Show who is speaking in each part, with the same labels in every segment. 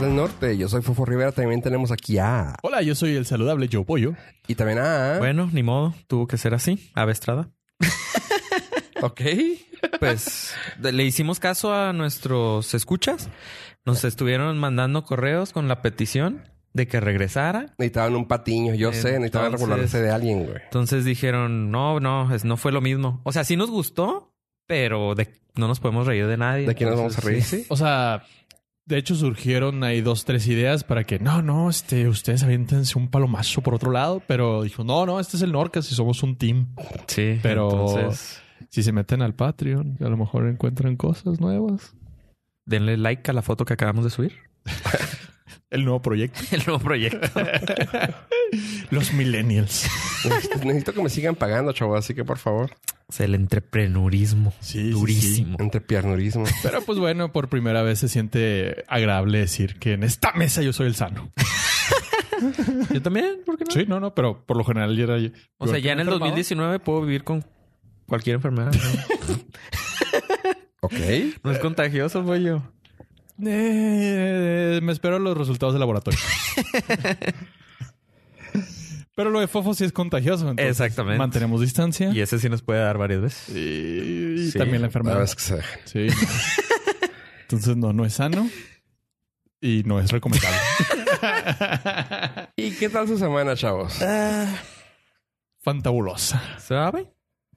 Speaker 1: del Norte. Yo soy Fofo Rivera. También tenemos aquí a.
Speaker 2: Hola, yo soy el saludable Joe Pollo.
Speaker 1: Y también a.
Speaker 3: Bueno, ni modo, tuvo que ser así, avestrada.
Speaker 1: Ok.
Speaker 3: Pues de- le hicimos caso a nuestros escuchas. Nos estuvieron mandando correos con la petición de que regresara.
Speaker 1: Necesitaban un patiño, yo sé. Necesitaban
Speaker 3: Entonces-
Speaker 1: regularse de alguien, güey.
Speaker 3: Entonces dijeron, no, no, es- no fue lo mismo. O sea, sí nos gustó, pero de- no nos podemos reír de nadie.
Speaker 1: ¿De quién nos vamos a
Speaker 3: Entonces,
Speaker 1: reír?
Speaker 3: sí, sí.
Speaker 2: O sea, de hecho surgieron ahí dos, tres ideas para que no, no, este, ustedes aviéntense un palomazo por otro lado, pero dijo, no, no, este es el Norcas y somos un team.
Speaker 3: Sí,
Speaker 2: Pero-
Speaker 3: entonces
Speaker 2: Si se meten al Patreon, a lo mejor encuentran cosas nuevas.
Speaker 3: denle like a la foto que acabamos de subir.
Speaker 2: El nuevo proyecto.
Speaker 3: El nuevo proyecto.
Speaker 2: Los millennials.
Speaker 1: Necesito- Necesito que me sigan pagando, chavo. Así que por favor,
Speaker 3: Es el entreprenurismo.
Speaker 2: Sí, sí,
Speaker 3: Durísimo.
Speaker 1: entre piernurismo.
Speaker 2: Pero pues bueno, por primera vez se siente agradable decir que en esta mesa yo soy el sano.
Speaker 3: Yo también, ¿por qué no?
Speaker 2: Sí, no, no, pero por lo general yo era... yo
Speaker 3: O sea,
Speaker 2: el que
Speaker 3: ya en
Speaker 2: me
Speaker 3: el
Speaker 2: enfermaba.
Speaker 3: 2019 puedo vivir con cualquier enfermedad. No,
Speaker 1: Ok.
Speaker 3: No es contagioso, pollo.
Speaker 2: Eh, me espero los resultados del laboratorio. Pero lo de fofo sí es contagioso. entonces
Speaker 3: Exactamente.
Speaker 2: Mantenemos distancia.
Speaker 3: Y ese sí nos puede dar varias veces.
Speaker 2: Y
Speaker 3: Sí,
Speaker 2: también la
Speaker 1: La
Speaker 2: enfermedad.
Speaker 1: verdad es que se dejan.
Speaker 2: Sí. Entonces, no, no es sano. Y no es recomendable.
Speaker 1: ¿Y qué tal su semana, chavos?
Speaker 2: Fantabulosa.
Speaker 3: Suave.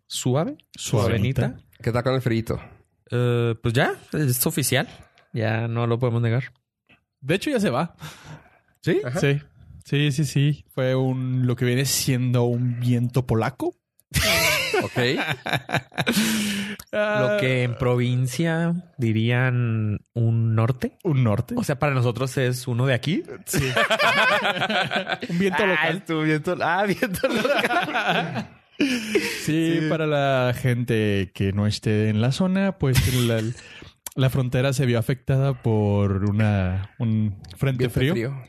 Speaker 3: Suave.
Speaker 2: Suavenita.
Speaker 1: ¿Qué tal con el frito?
Speaker 3: Eh, pues ya, es oficial. Ya no lo podemos negar.
Speaker 2: De hecho, ya se va.
Speaker 3: ¿Sí?
Speaker 1: Ajá.
Speaker 2: Sí. Sí, sí, sí. Fue un lo que viene siendo un viento polaco.
Speaker 1: Ok.
Speaker 3: Lo que en provincia dirían un norte.
Speaker 2: Ah, Un norte.
Speaker 3: O sea, para nosotros es uno de aquí.
Speaker 2: Sí. un viento
Speaker 3: Ah,
Speaker 2: local.
Speaker 3: tu viento, ah, viento local.
Speaker 2: Sí, para la gente que no esté en la zona, pues la, la frontera se vio afectada por una, un frente
Speaker 1: Bien
Speaker 2: frío,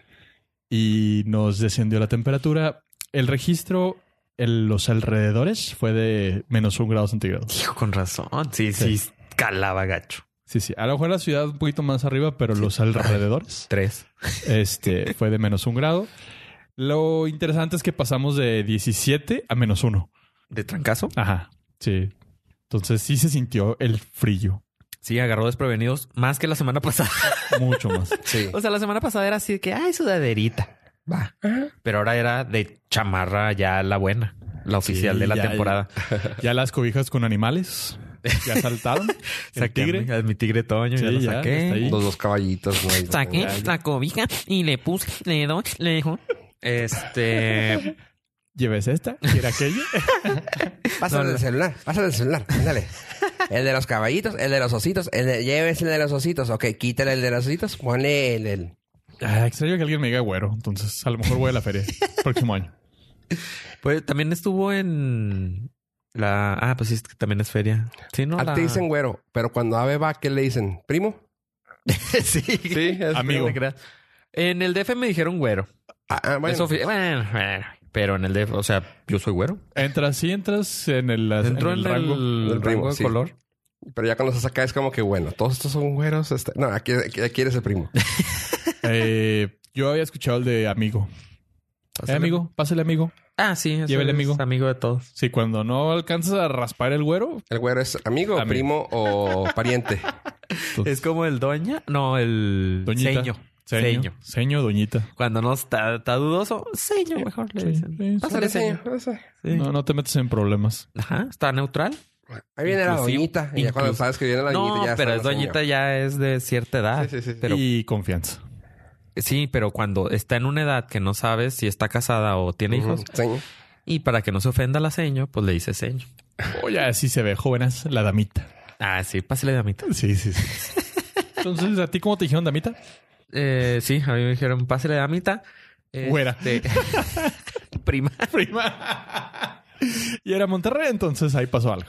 Speaker 2: y nos descendió la temperatura. El registro en los alrededores fue de menos un grado centígrado.
Speaker 3: Hijo, con razón. Sí, sí,
Speaker 2: Sí.
Speaker 3: calaba gacho.
Speaker 2: Sí, sí. A lo mejor la ciudad un poquito más arriba, pero los alrededores
Speaker 3: Tres.
Speaker 2: este, fue de menos un grado. Lo interesante es que pasamos de 17 a menos uno.
Speaker 3: ¿De trancazo?
Speaker 2: Ajá. Sí. Entonces sí se sintió el frío.
Speaker 3: Sí, agarró desprevenidos más que la semana pasada.
Speaker 2: Mucho más.
Speaker 1: Sí.
Speaker 3: O sea, la semana pasada era así de que, ay, sudaderita. Va. Pero ahora era de chamarra ya la buena, la oficial
Speaker 2: Sí,
Speaker 3: de la
Speaker 2: ya,
Speaker 3: temporada.
Speaker 2: Ya las cobijas con animales. Ya saltaron. el
Speaker 3: Saqué
Speaker 2: tigre.
Speaker 3: mi- Mi tigre Toño,
Speaker 2: Sí,
Speaker 3: ya
Speaker 2: ya,
Speaker 3: lo
Speaker 2: está
Speaker 3: saqué.
Speaker 2: ahí.
Speaker 1: Los dos caballitos. ¿no? Ahí lo
Speaker 3: Saqué
Speaker 1: tengo.
Speaker 3: la cobija y le puse, le doy, le dejo. Este.
Speaker 2: Lleves esta. ¿Quiere aquella?
Speaker 1: Pásale el celular, pásale el celular, ándale. El de los caballitos, el de los ositos, el de, llévese el de los ositos, ok, quítale el de los ositos, ponle el del...
Speaker 2: Ah, extraño que alguien me diga güero. Entonces a lo mejor voy a la feria. Próximo año.
Speaker 3: Pues también estuvo en la. Ah, pues sí, es que también es feria. Sí, Ah, no.
Speaker 1: A
Speaker 3: la-
Speaker 1: ti Ah, te dicen güero, pero cuando Ave va, ¿qué le dicen? ¿Primo?
Speaker 3: sí.
Speaker 1: Sí, es
Speaker 2: Amigo.
Speaker 3: No te creas. En el DF me dijeron güero.
Speaker 1: Ah, ah, bueno.
Speaker 3: Eso fue- bueno, bueno, pero en el DF, o sea, yo soy güero.
Speaker 2: Entras, sí entras en el, en
Speaker 3: Dentro
Speaker 2: el
Speaker 3: del
Speaker 2: rango.
Speaker 1: Del rango,
Speaker 3: rango de
Speaker 1: sí.
Speaker 3: color.
Speaker 1: Pero ya cuando se saca es como que, bueno, todos estos son güeros. este- No, aquí, aquí, aquí eres el primo.
Speaker 2: Eh, yo había escuchado el de amigo. Eh, amigo, pásale amigo.
Speaker 3: Ah, sí. ese
Speaker 2: Llévele,
Speaker 3: es
Speaker 2: amigo.
Speaker 3: Amigo de todos.
Speaker 2: Sí, cuando no alcanzas a raspar el güero.
Speaker 1: El güero es amigo,
Speaker 2: Amigo.
Speaker 1: primo o pariente.
Speaker 3: Es como el doña. No, el
Speaker 2: Doñita.
Speaker 3: seño.
Speaker 2: Seño.
Speaker 3: Seño.
Speaker 2: Seño, doñita.
Speaker 3: Cuando no está, está dudoso, seño mejor le
Speaker 2: Sí,
Speaker 3: dicen.
Speaker 2: sí, sí.
Speaker 3: Pásale, seño. Sí.
Speaker 2: No, no te metes en problemas.
Speaker 3: Ajá, está neutral.
Speaker 1: Ahí viene la
Speaker 3: Inclusivo.
Speaker 1: doñita. Y ya cuando
Speaker 3: Inclusivo.
Speaker 1: sabes que viene la doñita,
Speaker 3: No,
Speaker 1: ya
Speaker 3: pero
Speaker 1: está
Speaker 3: es
Speaker 1: la señora.
Speaker 3: doñita ya es de cierta edad.
Speaker 1: Sí, sí, sí.
Speaker 3: Pero
Speaker 2: y confianza.
Speaker 3: sí, pero cuando está en una edad que no sabes si está casada o tiene
Speaker 1: Ujú,
Speaker 3: hijos,
Speaker 1: seño.
Speaker 3: y para que no se ofenda la seño, pues le dice seño.
Speaker 2: Oye, así Oh, se ve, jóvenes, la damita.
Speaker 3: Ah, sí, pásale damita.
Speaker 2: Sí, sí, sí. Entonces, ¿a ti cómo te dijeron damita?
Speaker 3: Eh, sí, a mí me dijeron pásale damita.
Speaker 2: Güera.
Speaker 3: Este, prima.
Speaker 2: Prima. y era Monterrey, entonces ahí pasó algo.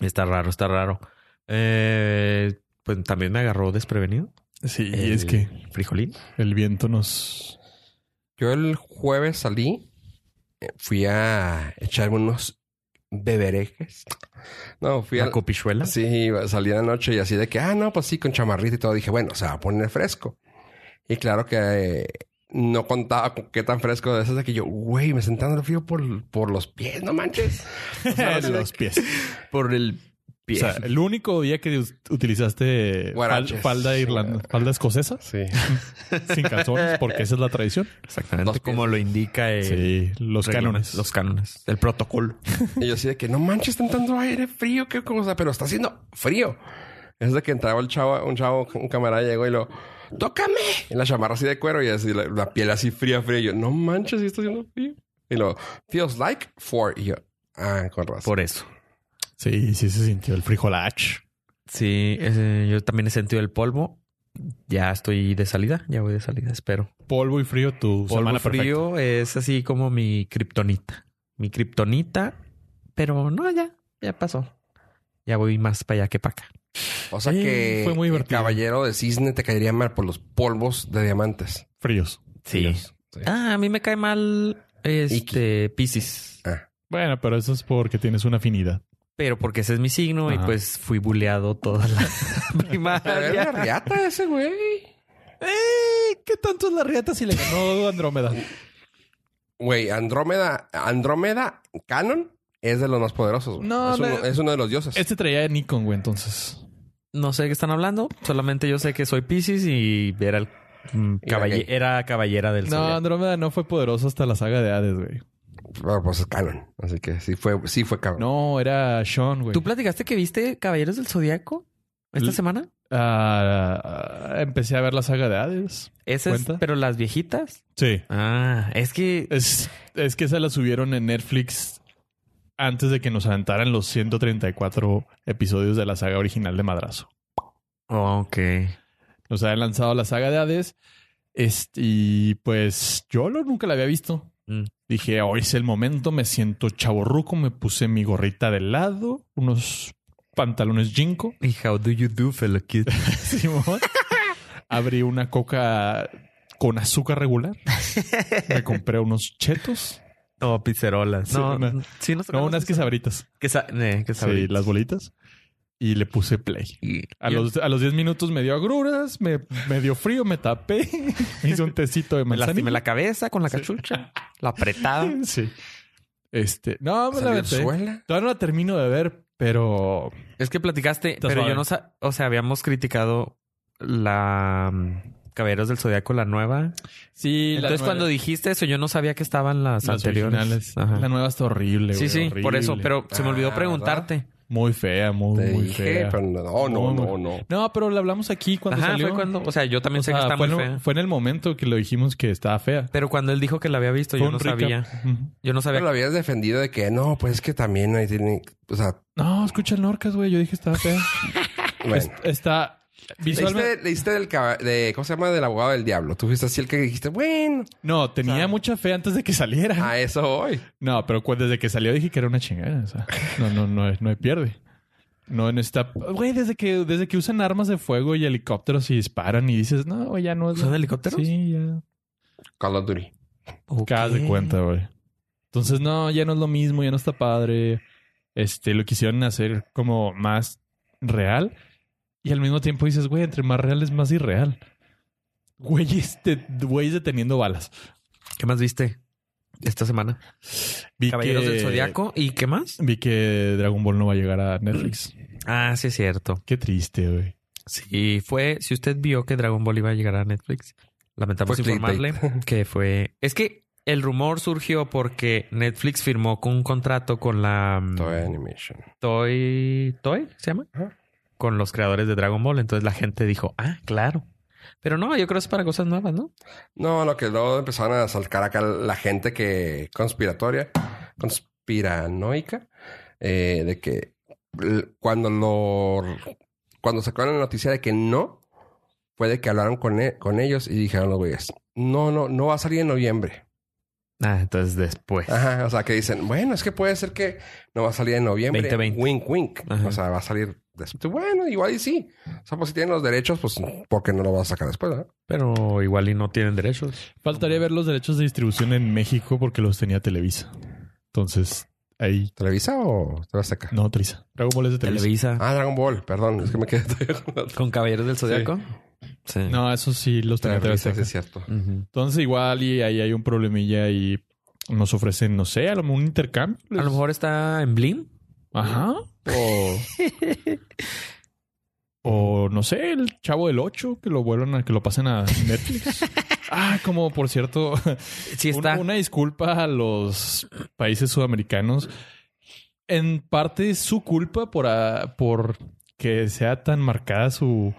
Speaker 3: Está raro, está raro. Eh, pues también me agarró desprevenido.
Speaker 2: Sí,
Speaker 3: El
Speaker 2: y es que
Speaker 3: Frijolín.
Speaker 2: el viento nos...
Speaker 1: Yo el jueves salí, eh, fui a echarme unos beberejes. No, fui
Speaker 3: La
Speaker 1: a...
Speaker 3: copichuela.
Speaker 1: Sí, salí en la noche y así de que, ah, no, pues sí, con chamarrita y todo. Dije, bueno, se va a poner fresco. Y claro que eh, no contaba con qué tan fresco de eso. De que yo, güey, me sentaron el frío por, por los pies, no manches. O sea, así de
Speaker 2: los
Speaker 1: que-
Speaker 2: pies.
Speaker 1: Por el
Speaker 2: O
Speaker 1: pie.
Speaker 2: sea, el único día que us- utilizaste fal-
Speaker 1: Guaraches.
Speaker 2: falda irlandesa, falda escocesa,
Speaker 1: sí.
Speaker 2: sin calzones, porque esa es la tradición.
Speaker 3: Exactamente
Speaker 1: Dos pies.
Speaker 3: como lo indica el
Speaker 2: Sí, Eh, los
Speaker 3: reglamento-
Speaker 2: cánones.
Speaker 3: Los cánones. El protocolo.
Speaker 1: Y yo así de que no manches, está entrando aire frío, qué cosa, pero está haciendo frío. Es de que entraba el chavo, un chavo, un camarada llegó y lo, tócame. En la chamarra así de cuero y así la, la piel así fría, fría. Y yo, no manches, sí está haciendo frío. Y lo, feels like four. Y yo, ah, con razón.
Speaker 3: Por eso.
Speaker 2: Sí, sí se sintió el frijolach.
Speaker 3: Sí, ese- yo también he sentido el polvo. Ya estoy de salida, ya voy de salida, espero.
Speaker 2: Polvo y frío tu
Speaker 3: Polvo
Speaker 2: Pues semana perfecta.
Speaker 3: frío es así como mi kriptonita. Mi kriptonita, pero no, ya, ya pasó. Ya voy más para allá que para acá.
Speaker 1: O sea
Speaker 2: Sí,
Speaker 1: que
Speaker 2: fue muy
Speaker 1: el
Speaker 2: divertido.
Speaker 1: caballero de cisne te caería mal por los polvos de diamantes.
Speaker 2: Fríos.
Speaker 1: Dios. Sí.
Speaker 3: Ah, a mí me cae mal este Pisces,
Speaker 1: Ah.
Speaker 2: Bueno, pero eso es porque tienes una afinidad.
Speaker 3: pero porque ese es mi signo y
Speaker 2: Ajá.
Speaker 3: pues fui buleado toda la
Speaker 1: Pero
Speaker 3: primaria.
Speaker 1: era una riata ese güey.
Speaker 2: ¡Eh! ¿Qué tanto es la riata si le ganó Andrómeda?
Speaker 1: Güey, Andrómeda, Andrómeda Canon es de los más poderosos. güey.
Speaker 2: No,
Speaker 1: es, uno,
Speaker 2: le-
Speaker 1: es uno de los dioses.
Speaker 2: Este traía Nikon, güey, entonces.
Speaker 3: No sé de qué están hablando, solamente yo sé que soy Pisces y era el mm,
Speaker 1: Era
Speaker 3: caballe-
Speaker 1: gay.
Speaker 3: era caballera del
Speaker 2: No,
Speaker 3: zodiaco.
Speaker 2: Andrómeda no fue poderoso hasta la saga de Hades, güey.
Speaker 1: Bueno, pues es canon. Así que sí fue, sí fue canon.
Speaker 2: No, era Sean, güey.
Speaker 3: ¿Tú platicaste que viste Caballeros del Zodíaco esta
Speaker 2: L-
Speaker 3: semana?
Speaker 2: Ah, ah, empecé a ver la saga de Hades.
Speaker 3: Esas,
Speaker 2: ¿Cuenta?
Speaker 3: pero las viejitas.
Speaker 2: Sí.
Speaker 3: Ah, es que
Speaker 2: Es, es que esa la subieron en Netflix antes de que nos aventaran los 134 episodios de la saga original de Madrazo.
Speaker 3: oh, Ok.
Speaker 2: Nos habían lanzado la saga de Hades este, y pues yo lo, nunca la había visto.
Speaker 3: Mm.
Speaker 2: Dije, hoy es el momento, me siento chaborruco, me puse mi gorrita de lado, unos pantalones jinko.
Speaker 3: ¿Y how do you do, fellow kid?
Speaker 2: Simón. Abrí una coca con azúcar regular. Me compré unos chetos.
Speaker 3: No, pizzerolas.
Speaker 2: Sí,
Speaker 3: Oh, No,
Speaker 2: una-
Speaker 3: sí, nos
Speaker 2: No,
Speaker 3: tocaron
Speaker 2: unas
Speaker 3: las
Speaker 2: quesabritas.
Speaker 3: que sa- eh, que
Speaker 2: Sí,
Speaker 3: sabritas.
Speaker 2: las bolitas. Y le puse play.
Speaker 3: Y-
Speaker 2: A
Speaker 3: y-
Speaker 2: los, a los 10 minutos me dio agruras, me, me dio frío, me tapé. Me hice un tecito de
Speaker 3: me lastimé
Speaker 2: manzanilla.
Speaker 3: la cabeza con la cachucha, la apretada.
Speaker 2: Sí. Este, no, me la
Speaker 1: ¿Salió
Speaker 2: aventé.
Speaker 1: suela?
Speaker 2: Todavía no la termino de ver, pero
Speaker 3: Es que platicaste,
Speaker 2: Está
Speaker 3: pero
Speaker 2: suave.
Speaker 3: yo no sa- o sea, habíamos criticado la mm, Caballeros del Zodíaco, la nueva.
Speaker 2: sí. la
Speaker 3: Entonces,
Speaker 2: nueva-
Speaker 3: cuando dijiste eso, yo no sabía que estaban las,
Speaker 2: las
Speaker 3: anteriores.
Speaker 2: originales,
Speaker 3: Ajá.
Speaker 2: la nueva está horrible.
Speaker 3: sí,
Speaker 2: güey,
Speaker 3: sí, por eso,
Speaker 2: horrible.
Speaker 3: pero se me olvidó
Speaker 1: Ah,
Speaker 3: preguntarte.
Speaker 2: muy fea, muy,
Speaker 1: Te
Speaker 2: muy
Speaker 1: dije,
Speaker 2: fea.
Speaker 1: pero no, no, no,
Speaker 2: Muy-
Speaker 1: no, no.
Speaker 2: No, pero la hablamos aquí cuando
Speaker 3: Ajá,
Speaker 2: salió.
Speaker 3: fue cuando, o sea, yo también
Speaker 2: O
Speaker 3: sé
Speaker 2: sea,
Speaker 3: que está
Speaker 2: Ah, fue,
Speaker 3: muy
Speaker 2: en
Speaker 3: fea.
Speaker 2: el, fue en el momento que lo dijimos que estaba fea.
Speaker 3: Pero cuando él dijo que la había visto,
Speaker 2: Fue
Speaker 3: yo
Speaker 2: un
Speaker 3: no
Speaker 2: recap.
Speaker 3: sabía.
Speaker 2: Ujú.
Speaker 3: Yo no
Speaker 1: Pero
Speaker 3: sabía.
Speaker 1: lo habías defendido de que no, pues es que también ahí tiene. O sea,
Speaker 2: No, escucha el Norcas, güey. Yo dije estaba fea. Es-
Speaker 1: bueno.
Speaker 2: está visualmente.
Speaker 1: Leíste, leíste del caba- de, ¿cómo se llama? Del abogado del diablo. Tú fuiste así el que dijiste, bueno,
Speaker 2: No, tenía
Speaker 3: O sea-
Speaker 2: mucha fe antes de que saliera.
Speaker 1: a eso voy.
Speaker 2: No, pero cu- desde que salió dije que era una chingada. o sea, no, no, no, no hay pierde. No en esta. Güey, desde que, desde que usan armas de fuego y helicópteros y disparan y dices, no, güey, ya no es.
Speaker 3: ¿Son helicópteros?
Speaker 2: Sí, ya.
Speaker 1: Call of Duty.
Speaker 3: Ok.
Speaker 2: Cada de cuenta, güey. Entonces, no, ya no es lo mismo, ya no está padre. Este, lo quisieron hacer como más real. Y al mismo tiempo dices, güey, entre más real es más irreal. Güey, este, güey deteniendo balas.
Speaker 3: ¿Qué más viste esta semana?
Speaker 2: Vi
Speaker 3: Caballeros
Speaker 2: que-
Speaker 3: del Zodiaco y qué más?
Speaker 2: Vi que Dragon Ball no va a llegar a Netflix.
Speaker 3: Ah, sí, es cierto.
Speaker 2: Qué triste, güey.
Speaker 3: Sí, fue. Si usted vio que Dragon Ball iba a llegar a Netflix, lamentamos
Speaker 1: Fue
Speaker 3: informarle que fue. Es que el rumor surgió porque Netflix firmó con un contrato con la mm,
Speaker 1: Toy Animation.
Speaker 3: Toy. ¿Toy? ¿Se llama?
Speaker 1: Ajá.
Speaker 3: Con los creadores de Dragon Ball. Entonces la gente dijo, ah, claro. Pero no, yo creo que es para cosas nuevas, ¿no?
Speaker 1: No, lo que luego empezaron a salcar acá la gente que conspiratoria, conspiranoica, eh, de que l- cuando lo cuando sacaron la noticia de que no, fue de que hablaron con, e- con ellos y dijeron los güeyes, no, no, no va a salir en noviembre.
Speaker 3: Ah, entonces después.
Speaker 1: Ajá, o sea que dicen, bueno, es que puede ser que no va a salir en noviembre.
Speaker 3: 2020.
Speaker 1: Wink, wink.
Speaker 3: Ajá.
Speaker 1: O sea, va a salir después. Bueno, igual y sí. O sea, pues si tienen los derechos, pues ¿por qué no lo va a sacar después? ¿verdad?
Speaker 3: Pero igual y no tienen derechos.
Speaker 2: Faltaría ver los derechos de distribución en México porque los tenía Televisa. Entonces, ahí.
Speaker 1: ¿Televisa o te vas a
Speaker 3: Mm.
Speaker 1: sacar?
Speaker 2: No, Televisa. Dragon Ball es de Televisa.
Speaker 3: Televisa.
Speaker 1: Ah, Dragon Ball, perdón, es que me quedé todavía con la otra.
Speaker 3: Con Caballeros del Zodíaco. Sí.
Speaker 2: No, eso sí los
Speaker 1: Te da
Speaker 2: tenía TV
Speaker 1: risa, sí
Speaker 2: Azteca.
Speaker 1: es cierto.
Speaker 3: Ujú.
Speaker 2: Entonces igual y ahí hay un problemilla y nos ofrecen, no sé, a lo mejor un intercambio.
Speaker 3: A lo mejor está en Blim.
Speaker 2: Ajá. O, o no sé, el chavo del 8 que lo vuelvan a que lo pasen a Netflix. Ah, como por cierto,
Speaker 3: Sí
Speaker 2: un-
Speaker 3: está.
Speaker 2: una disculpa a los países sudamericanos. En parte es su culpa por, ah, por que sea tan marcada su,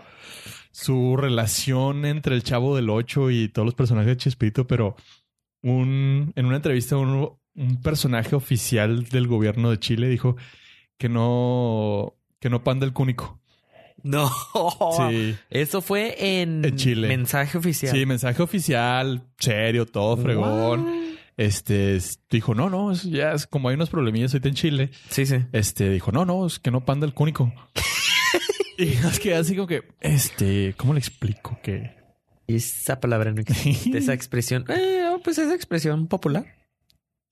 Speaker 2: su relación entre el Chavo del Ocho y todos los personajes de Chespirito, pero un, en una entrevista un, un personaje oficial del gobierno de Chile dijo que no, que no panda el cúnico.
Speaker 3: No. Oh,
Speaker 2: Sí.
Speaker 3: Eso fue en,
Speaker 2: En Chile.
Speaker 3: mensaje oficial.
Speaker 2: Sí, mensaje oficial, serio, todo fregón. Este es- dijo, no, no, es- ya es como hay unos problemillas ahorita en Chile.
Speaker 3: Sí, sí.
Speaker 2: Este dijo, no, no, es que no panda el cúnico. y nos queda así como que, este, ¿cómo le explico que?
Speaker 3: Esa palabra no existe. Esa expresión. Eh, oh, pues esa expresión popular.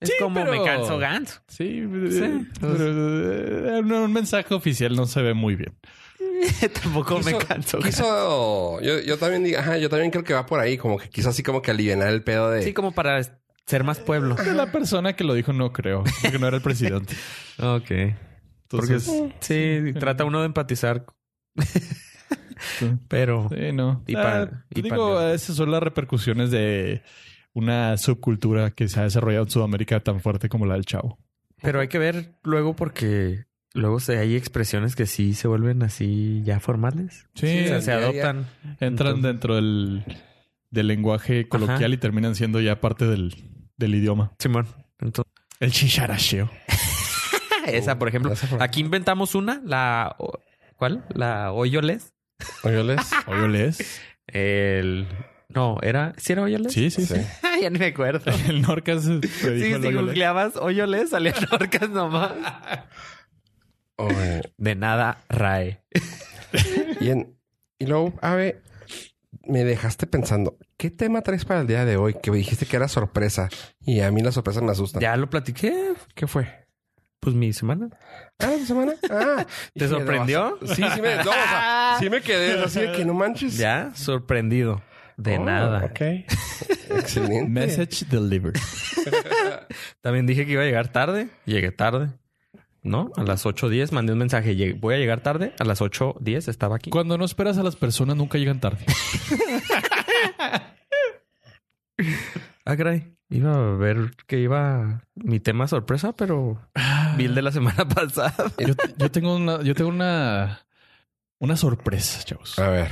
Speaker 3: Es
Speaker 2: Sí,
Speaker 3: como
Speaker 2: pero-
Speaker 3: me canso ganso.
Speaker 2: Sí,
Speaker 3: Sí. pues.
Speaker 2: pero, eh, no, un mensaje oficial no se ve muy bien.
Speaker 3: Tampoco me
Speaker 1: Quiso-
Speaker 3: canso ganso.
Speaker 1: Quiso, yo, yo también digo, ajá, yo también creo que va por ahí, como que quiso así como que aliviar el pedo de.
Speaker 3: Sí, como para ser más pueblo.
Speaker 2: La persona que lo dijo no creo, porque no era el presidente.
Speaker 3: Ok. Porque
Speaker 2: Entonces,
Speaker 3: sí, trata uno de empatizar, pero
Speaker 2: sí, no.
Speaker 3: Y para-
Speaker 2: Ah,
Speaker 3: y
Speaker 2: digo,
Speaker 3: para-
Speaker 2: esas son las repercusiones de una subcultura que se ha desarrollado en Sudamérica tan fuerte como la del chavo.
Speaker 3: pero hay que ver luego porque luego se- hay expresiones que sí se vuelven así ya formales.
Speaker 2: Sí,
Speaker 3: O sea, se
Speaker 1: ya, ya.
Speaker 3: adoptan.
Speaker 2: entran
Speaker 3: Entonces-
Speaker 2: dentro del, del lenguaje coloquial y terminan siendo ya parte del, del idioma.
Speaker 3: Simón. Entonces,
Speaker 2: El chicharacheo.
Speaker 3: esa, por ejemplo,
Speaker 1: Esa Mm, por-
Speaker 3: aquí inventamos una, la o- ¿cuál? La hoyoles.
Speaker 2: ¿Oyoles? ¿Oyoles?
Speaker 3: El no, era, ¿sí era hoyoles?
Speaker 2: Sí, sí, sí.
Speaker 3: ya ni me acuerdo.
Speaker 2: El Norcas se se dijo
Speaker 3: Sí,
Speaker 2: el
Speaker 3: si
Speaker 2: oyoles.
Speaker 3: googleabas hoyoles, salían orcas nomás.
Speaker 1: Oye,
Speaker 3: De nada, RAE.
Speaker 1: Y, en- y luego, Ave, me dejaste pensando, ¿qué tema traes para el día de hoy? Que me dijiste que era sorpresa. Y a mí las sorpresas me asustan.
Speaker 3: Ya lo platiqué.
Speaker 1: ¿Qué fue?
Speaker 3: Pues mi semana.
Speaker 1: Ah, ¿la semana. Ah.
Speaker 3: ¿Te
Speaker 1: Dije,
Speaker 3: sorprendió?
Speaker 1: no, sí, sí me, no, o sea, sí me quedé así de que no manches.
Speaker 3: Ya, sorprendido. De
Speaker 1: Oh,
Speaker 3: nada.
Speaker 1: Ok. Excelente.
Speaker 2: Message delivered.
Speaker 3: También dije que iba a llegar tarde. Llegué tarde. ¿No? A las 8.10 mandé un mensaje. Llegué- Voy a llegar tarde. A las 8.10 estaba aquí.
Speaker 2: Cuando no esperas a las personas nunca llegan tarde.
Speaker 3: Ah, caray. Iba a ver que iba mi tema sorpresa, pero vi el de la semana pasada.
Speaker 2: Yo, yo tengo una, yo tengo una, una sorpresa, chavos.
Speaker 1: A ver.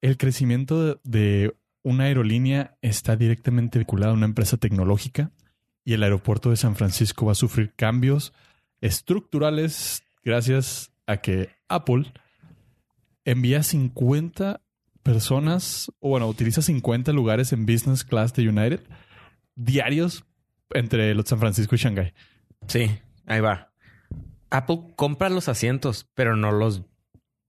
Speaker 2: El crecimiento de- de una aerolínea está directamente vinculado a una empresa tecnológica y el aeropuerto de San Francisco va a sufrir cambios estructurales gracias a que Apple envía 50 personas, o bueno, utiliza 50 lugares en business class de United diarios entre los San Francisco y Shanghai.
Speaker 3: Sí, ahí va. Apple compra los asientos, pero no los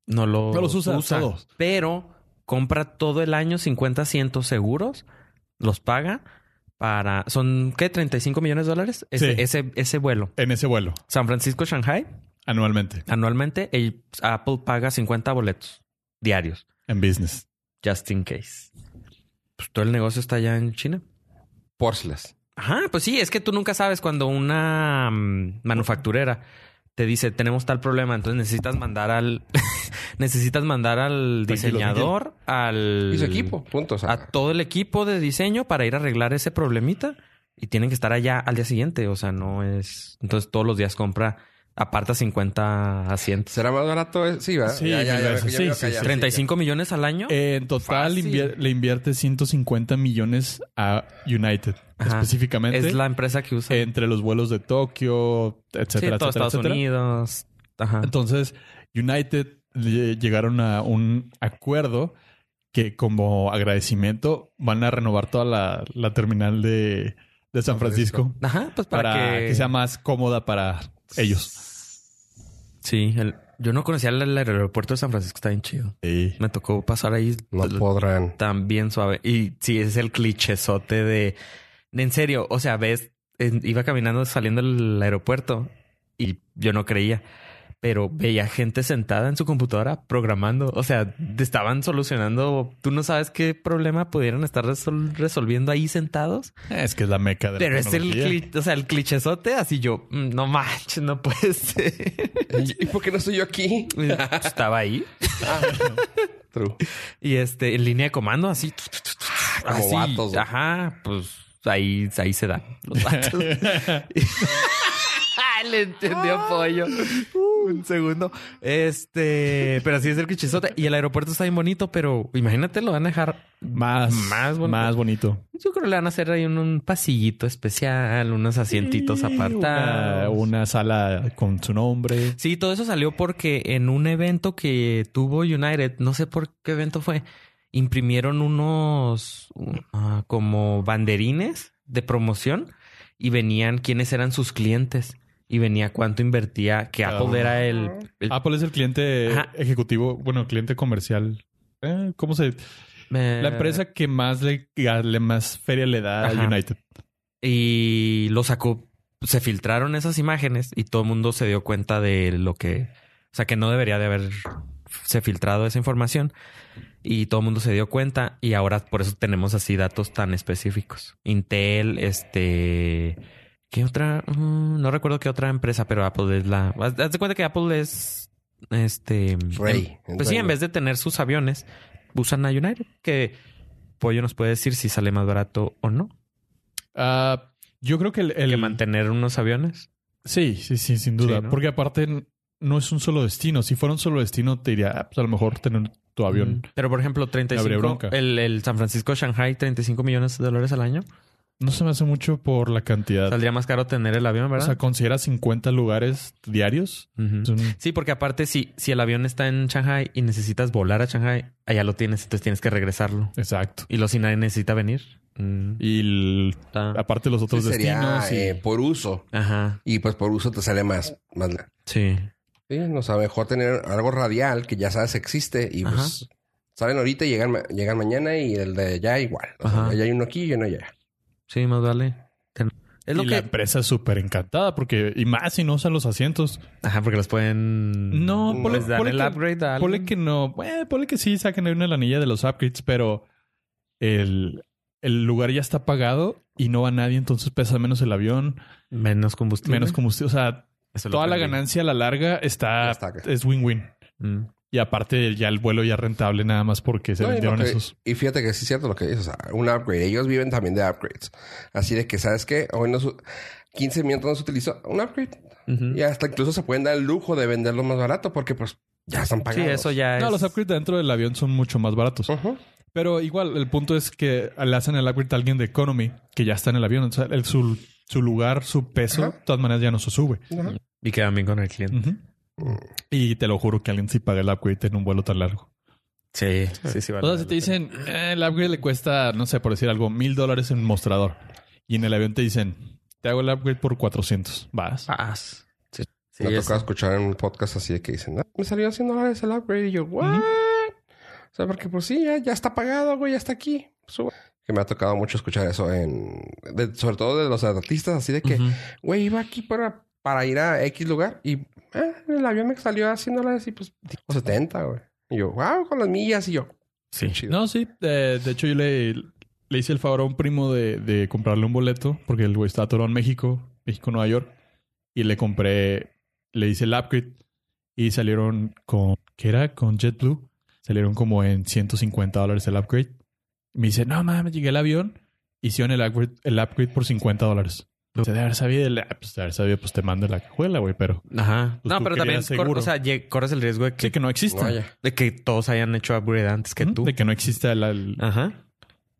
Speaker 3: no los,
Speaker 2: No los usa, todos.
Speaker 3: Pero compra todo el año 50 asientos seguros, los paga para son qué 35 millones de dólares ese
Speaker 2: Sí.
Speaker 3: ese, ese vuelo.
Speaker 2: En ese vuelo,
Speaker 3: San Francisco Shanghai
Speaker 2: anualmente,
Speaker 3: anualmente el- Apple paga 50 boletos diarios
Speaker 2: en business.
Speaker 3: just in case. Pues todo el negocio está allá en China.
Speaker 1: Porcelas.
Speaker 3: Ajá, pues sí, es que tú nunca sabes cuando una mm, manufacturera te dice tenemos tal problema, entonces necesitas mandar al necesitas mandar al
Speaker 2: Tranquilo,
Speaker 3: diseñador, al
Speaker 1: Y su equipo. Punto. O sea,
Speaker 3: a todo el equipo de diseño para ir a arreglar ese problemita y tienen que estar allá al día siguiente, o sea, no es entonces todos los días compra aparta 50 asientos.
Speaker 1: ¿Será más barato? eh? Sí, ¿verdad?
Speaker 2: Sí,
Speaker 1: ya, ya,
Speaker 2: mil
Speaker 1: ya,
Speaker 2: veces.
Speaker 1: ya
Speaker 2: Sí,
Speaker 1: veo
Speaker 2: sí,
Speaker 1: que
Speaker 2: sí.
Speaker 1: ya-
Speaker 3: 35 millones al año.
Speaker 2: Eh, En total
Speaker 1: Fácil.
Speaker 2: invier- le invierte 150 millones a United,
Speaker 3: Ajá.
Speaker 2: específicamente.
Speaker 3: es la empresa que usa
Speaker 2: Entre los vuelos de Tokio,
Speaker 3: sí,
Speaker 2: Eh, etcétera,
Speaker 3: todo
Speaker 2: etcétera,
Speaker 3: Estados
Speaker 2: etcétera.
Speaker 3: Unidos. Ajá.
Speaker 2: Entonces, United lle- llegaron a un acuerdo que como agradecimiento van a renovar toda la, la terminal de, de San Francisco
Speaker 3: Ajá, pues para,
Speaker 2: para, que... sea más cómoda para ellos.
Speaker 3: Sí, el- yo no conocía el, el aeropuerto de San Francisco, está bien chido.
Speaker 2: Sí.
Speaker 3: Me tocó pasar ahí
Speaker 1: No podrán.
Speaker 3: tan bien suave. Y sí, ese es el clichezote de... En serio, o sea, ves, en- iba caminando saliendo del aeropuerto y yo no creía. pero veía gente sentada en su computadora programando. O sea, te estaban solucionando. Tú no sabes qué problema pudieran estar resol- resolviendo ahí sentados.
Speaker 2: Es que es la meca de la
Speaker 3: Pero es el,
Speaker 2: tecnología.
Speaker 3: cli- o sea, el clichesote, así yo, "Mm, no manches, no puede ser.
Speaker 1: ¿Y por qué no estoy yo aquí?
Speaker 3: Estaba ahí.
Speaker 1: True.
Speaker 3: Y este, en línea de comando, así. tu, tu, tu, tu,
Speaker 1: Como
Speaker 3: así.
Speaker 1: vatos, güey.
Speaker 3: Ajá, pues ahí, ahí se dan los vatos. Ah, Le entendió pollo. Uh, un segundo. Este, pero así es el clichesote. Y el aeropuerto está bien bonito, pero imagínate, lo van a dejar.
Speaker 2: Más,
Speaker 3: Más
Speaker 2: más
Speaker 3: bonito.
Speaker 2: bonito. Más bonito.
Speaker 3: Yo creo que le van a hacer ahí un, un pasillito especial, unos asientitos
Speaker 2: Una,
Speaker 3: apartados.
Speaker 2: una sala con su nombre.
Speaker 3: Sí, todo eso salió porque en un evento que tuvo United, no sé por qué evento fue, imprimieron unos uh, ah, como banderines de promoción y venían quiénes eran sus clientes y venía cuánto invertía, que
Speaker 2: Cada
Speaker 3: Apple
Speaker 2: uno.
Speaker 3: era el... el-
Speaker 2: Apple Ah, es el cliente
Speaker 3: Ajá.
Speaker 2: ejecutivo, bueno, cliente comercial. Eh, ¿Cómo se?
Speaker 3: eh,
Speaker 2: La empresa que más le, le más feria le da
Speaker 3: Ajá.
Speaker 2: a United.
Speaker 3: Y lo sacó, se filtraron esas imágenes y todo el mundo se dio cuenta de lo que, o sea, que no debería de haberse filtrado esa información. Y todo el mundo se dio cuenta y ahora por eso tenemos así datos tan específicos. Intel, este... ¿Qué otra? Mm, no recuerdo qué otra empresa, pero Apple es la... Haz haz de cuenta que Apple es... Este...
Speaker 1: Rey.
Speaker 3: em- Pues sí, en vez de tener sus aviones, usan a United, que Pollo nos puede decir si sale más barato o no
Speaker 2: Ah, yo creo que el, el-
Speaker 3: que mantener unos aviones.
Speaker 2: Sí, sí, sí, sin duda.
Speaker 3: Sí, ¿no?
Speaker 2: Porque aparte n- no es un solo destino. Si fuera un solo destino, te diría, ah, pues a lo mejor tener tu avión.
Speaker 3: Mm. Pero por ejemplo,
Speaker 2: Habría
Speaker 3: 35
Speaker 2: bronca.
Speaker 3: el, el San Francisco Shanghai 35 millones de dólares al año. Mm.
Speaker 2: No se me hace mucho por la cantidad.
Speaker 3: Saldría más caro tener el avión,
Speaker 2: o
Speaker 3: ¿verdad? Mm.
Speaker 2: sea, considera 50 lugares diarios.
Speaker 3: Ujú.
Speaker 2: Es un-
Speaker 3: Sí, porque aparte si si el avión está en Shanghai y necesitas volar a Shanghai, allá lo tienes, entonces tienes que regresarlo.
Speaker 2: Exacto.
Speaker 3: Y lo si nadie necesita venir. Mm.
Speaker 2: Y el-
Speaker 3: Está-
Speaker 2: aparte los otros
Speaker 1: Sí, sería
Speaker 2: destinos. y-
Speaker 1: eh, por uso.
Speaker 3: Ajá.
Speaker 1: Y pues por uso te sale más. más la-
Speaker 3: Sí.
Speaker 1: sí, no o sea, mejor tener algo radial que ya sabes existe y
Speaker 3: Ajá.
Speaker 1: pues saben ahorita y llegan, ma- llegan mañana y el de allá igual. O sea,
Speaker 3: Ajá.
Speaker 1: ya hay uno aquí y uno allá.
Speaker 3: Sí, más vale. Ten- Es lo
Speaker 2: y
Speaker 3: que
Speaker 2: la empresa es súper encantada porque, y más si no usan los asientos.
Speaker 3: Ajá, porque los pueden
Speaker 2: No,
Speaker 1: ponle-
Speaker 3: les dan
Speaker 2: ponle
Speaker 3: el
Speaker 2: que-
Speaker 3: upgrade a
Speaker 2: Ponle
Speaker 3: alguien.
Speaker 2: que no, eh, ponle que sí saquen ahí una lanilla de los upgrades, pero el, el lugar ya está pagado y no va nadie, entonces pesa menos el avión,
Speaker 3: menos combustible.
Speaker 2: menos combustible. O sea,
Speaker 3: Eso lo
Speaker 2: toda la
Speaker 3: aprendí.
Speaker 2: ganancia a la larga está,
Speaker 1: Está acá.
Speaker 2: es win-win.
Speaker 3: Mm.
Speaker 2: Y aparte ya el vuelo ya rentable nada más porque se
Speaker 1: No, y, lo
Speaker 2: vendieron
Speaker 1: que-
Speaker 2: esos.
Speaker 1: y fíjate que sí es cierto lo que dices. O sea, un upgrade. Ellos viven también de upgrades. Así de que, ¿sabes qué? Hoy no su- 15 minutos no se utilizó un upgrade.
Speaker 3: Ujú.
Speaker 1: Y hasta incluso se pueden dar el lujo de venderlo más barato porque pues ya están
Speaker 3: Sí,
Speaker 1: pagados.
Speaker 3: eso ya es.
Speaker 2: No, los upgrades dentro del avión son mucho más baratos.
Speaker 1: Ujú.
Speaker 2: Pero igual, el punto es que le hacen el upgrade a alguien de economy que ya está en el avión. O sea, el- su, su lugar, su peso,
Speaker 1: Ajá.
Speaker 2: de todas maneras ya no se sube.
Speaker 1: Ujú.
Speaker 3: Y quedan bien con el cliente.
Speaker 2: Ujú. Y te lo juro que alguien sí paga el upgrade en un vuelo tan largo.
Speaker 3: Sí, sí, sí. vale
Speaker 2: o sea, si te
Speaker 3: la pena.
Speaker 2: dicen, "Eh, el upgrade le cuesta, no sé, por decir algo, mil dólares en mostrador. Y en el avión te dicen, te hago el upgrade por 400. Vas.
Speaker 3: Paz. Sí,
Speaker 1: me ha
Speaker 3: es-
Speaker 1: tocado escuchar en un podcast así de que dicen, "Ah, me salió 100 dólares el upgrade. Y yo, ¿what? O sea, porque pues sí, ya, ya está pagado, güey, ya está aquí. Suba. Que me ha tocado mucho escuchar eso en... de- sobre todo de los artistas, así de que,
Speaker 3: Ujú.
Speaker 1: güey, iba aquí para, para ir a X lugar y ah, el avión me salió a 100 dólares y pues dijo 70, güey. Y yo, wow, con las millas. Y yo,
Speaker 3: Sí.
Speaker 1: chido.
Speaker 2: No, sí. eh, de hecho, yo le, le hice el favor a un primo de, de comprarle un boleto porque el güey está atorado en México, México, Nueva York. Y le compré, le hice el upgrade y salieron con, ¿qué era? Con JetBlue. Salieron como en 150 dólares el upgrade. Me dice, no mames, llegué al avión. Hicieron el upgrade, el upgrade por 50 dólares. O sea, de haber sabido, el- ah, pues, de haber sabido, pues te mando la cajuela, güey, pero...
Speaker 3: Ajá.
Speaker 2: Pues
Speaker 3: no,
Speaker 2: tú
Speaker 3: pero también
Speaker 2: querías
Speaker 3: cor-
Speaker 2: seguro.
Speaker 3: o sea, lle- corres el riesgo de que,
Speaker 2: Sí, que no existe.
Speaker 1: No, ya.
Speaker 3: de que todos hayan hecho upgrade antes que tú. Ah.
Speaker 2: De que no exista el- el-
Speaker 3: Ajá.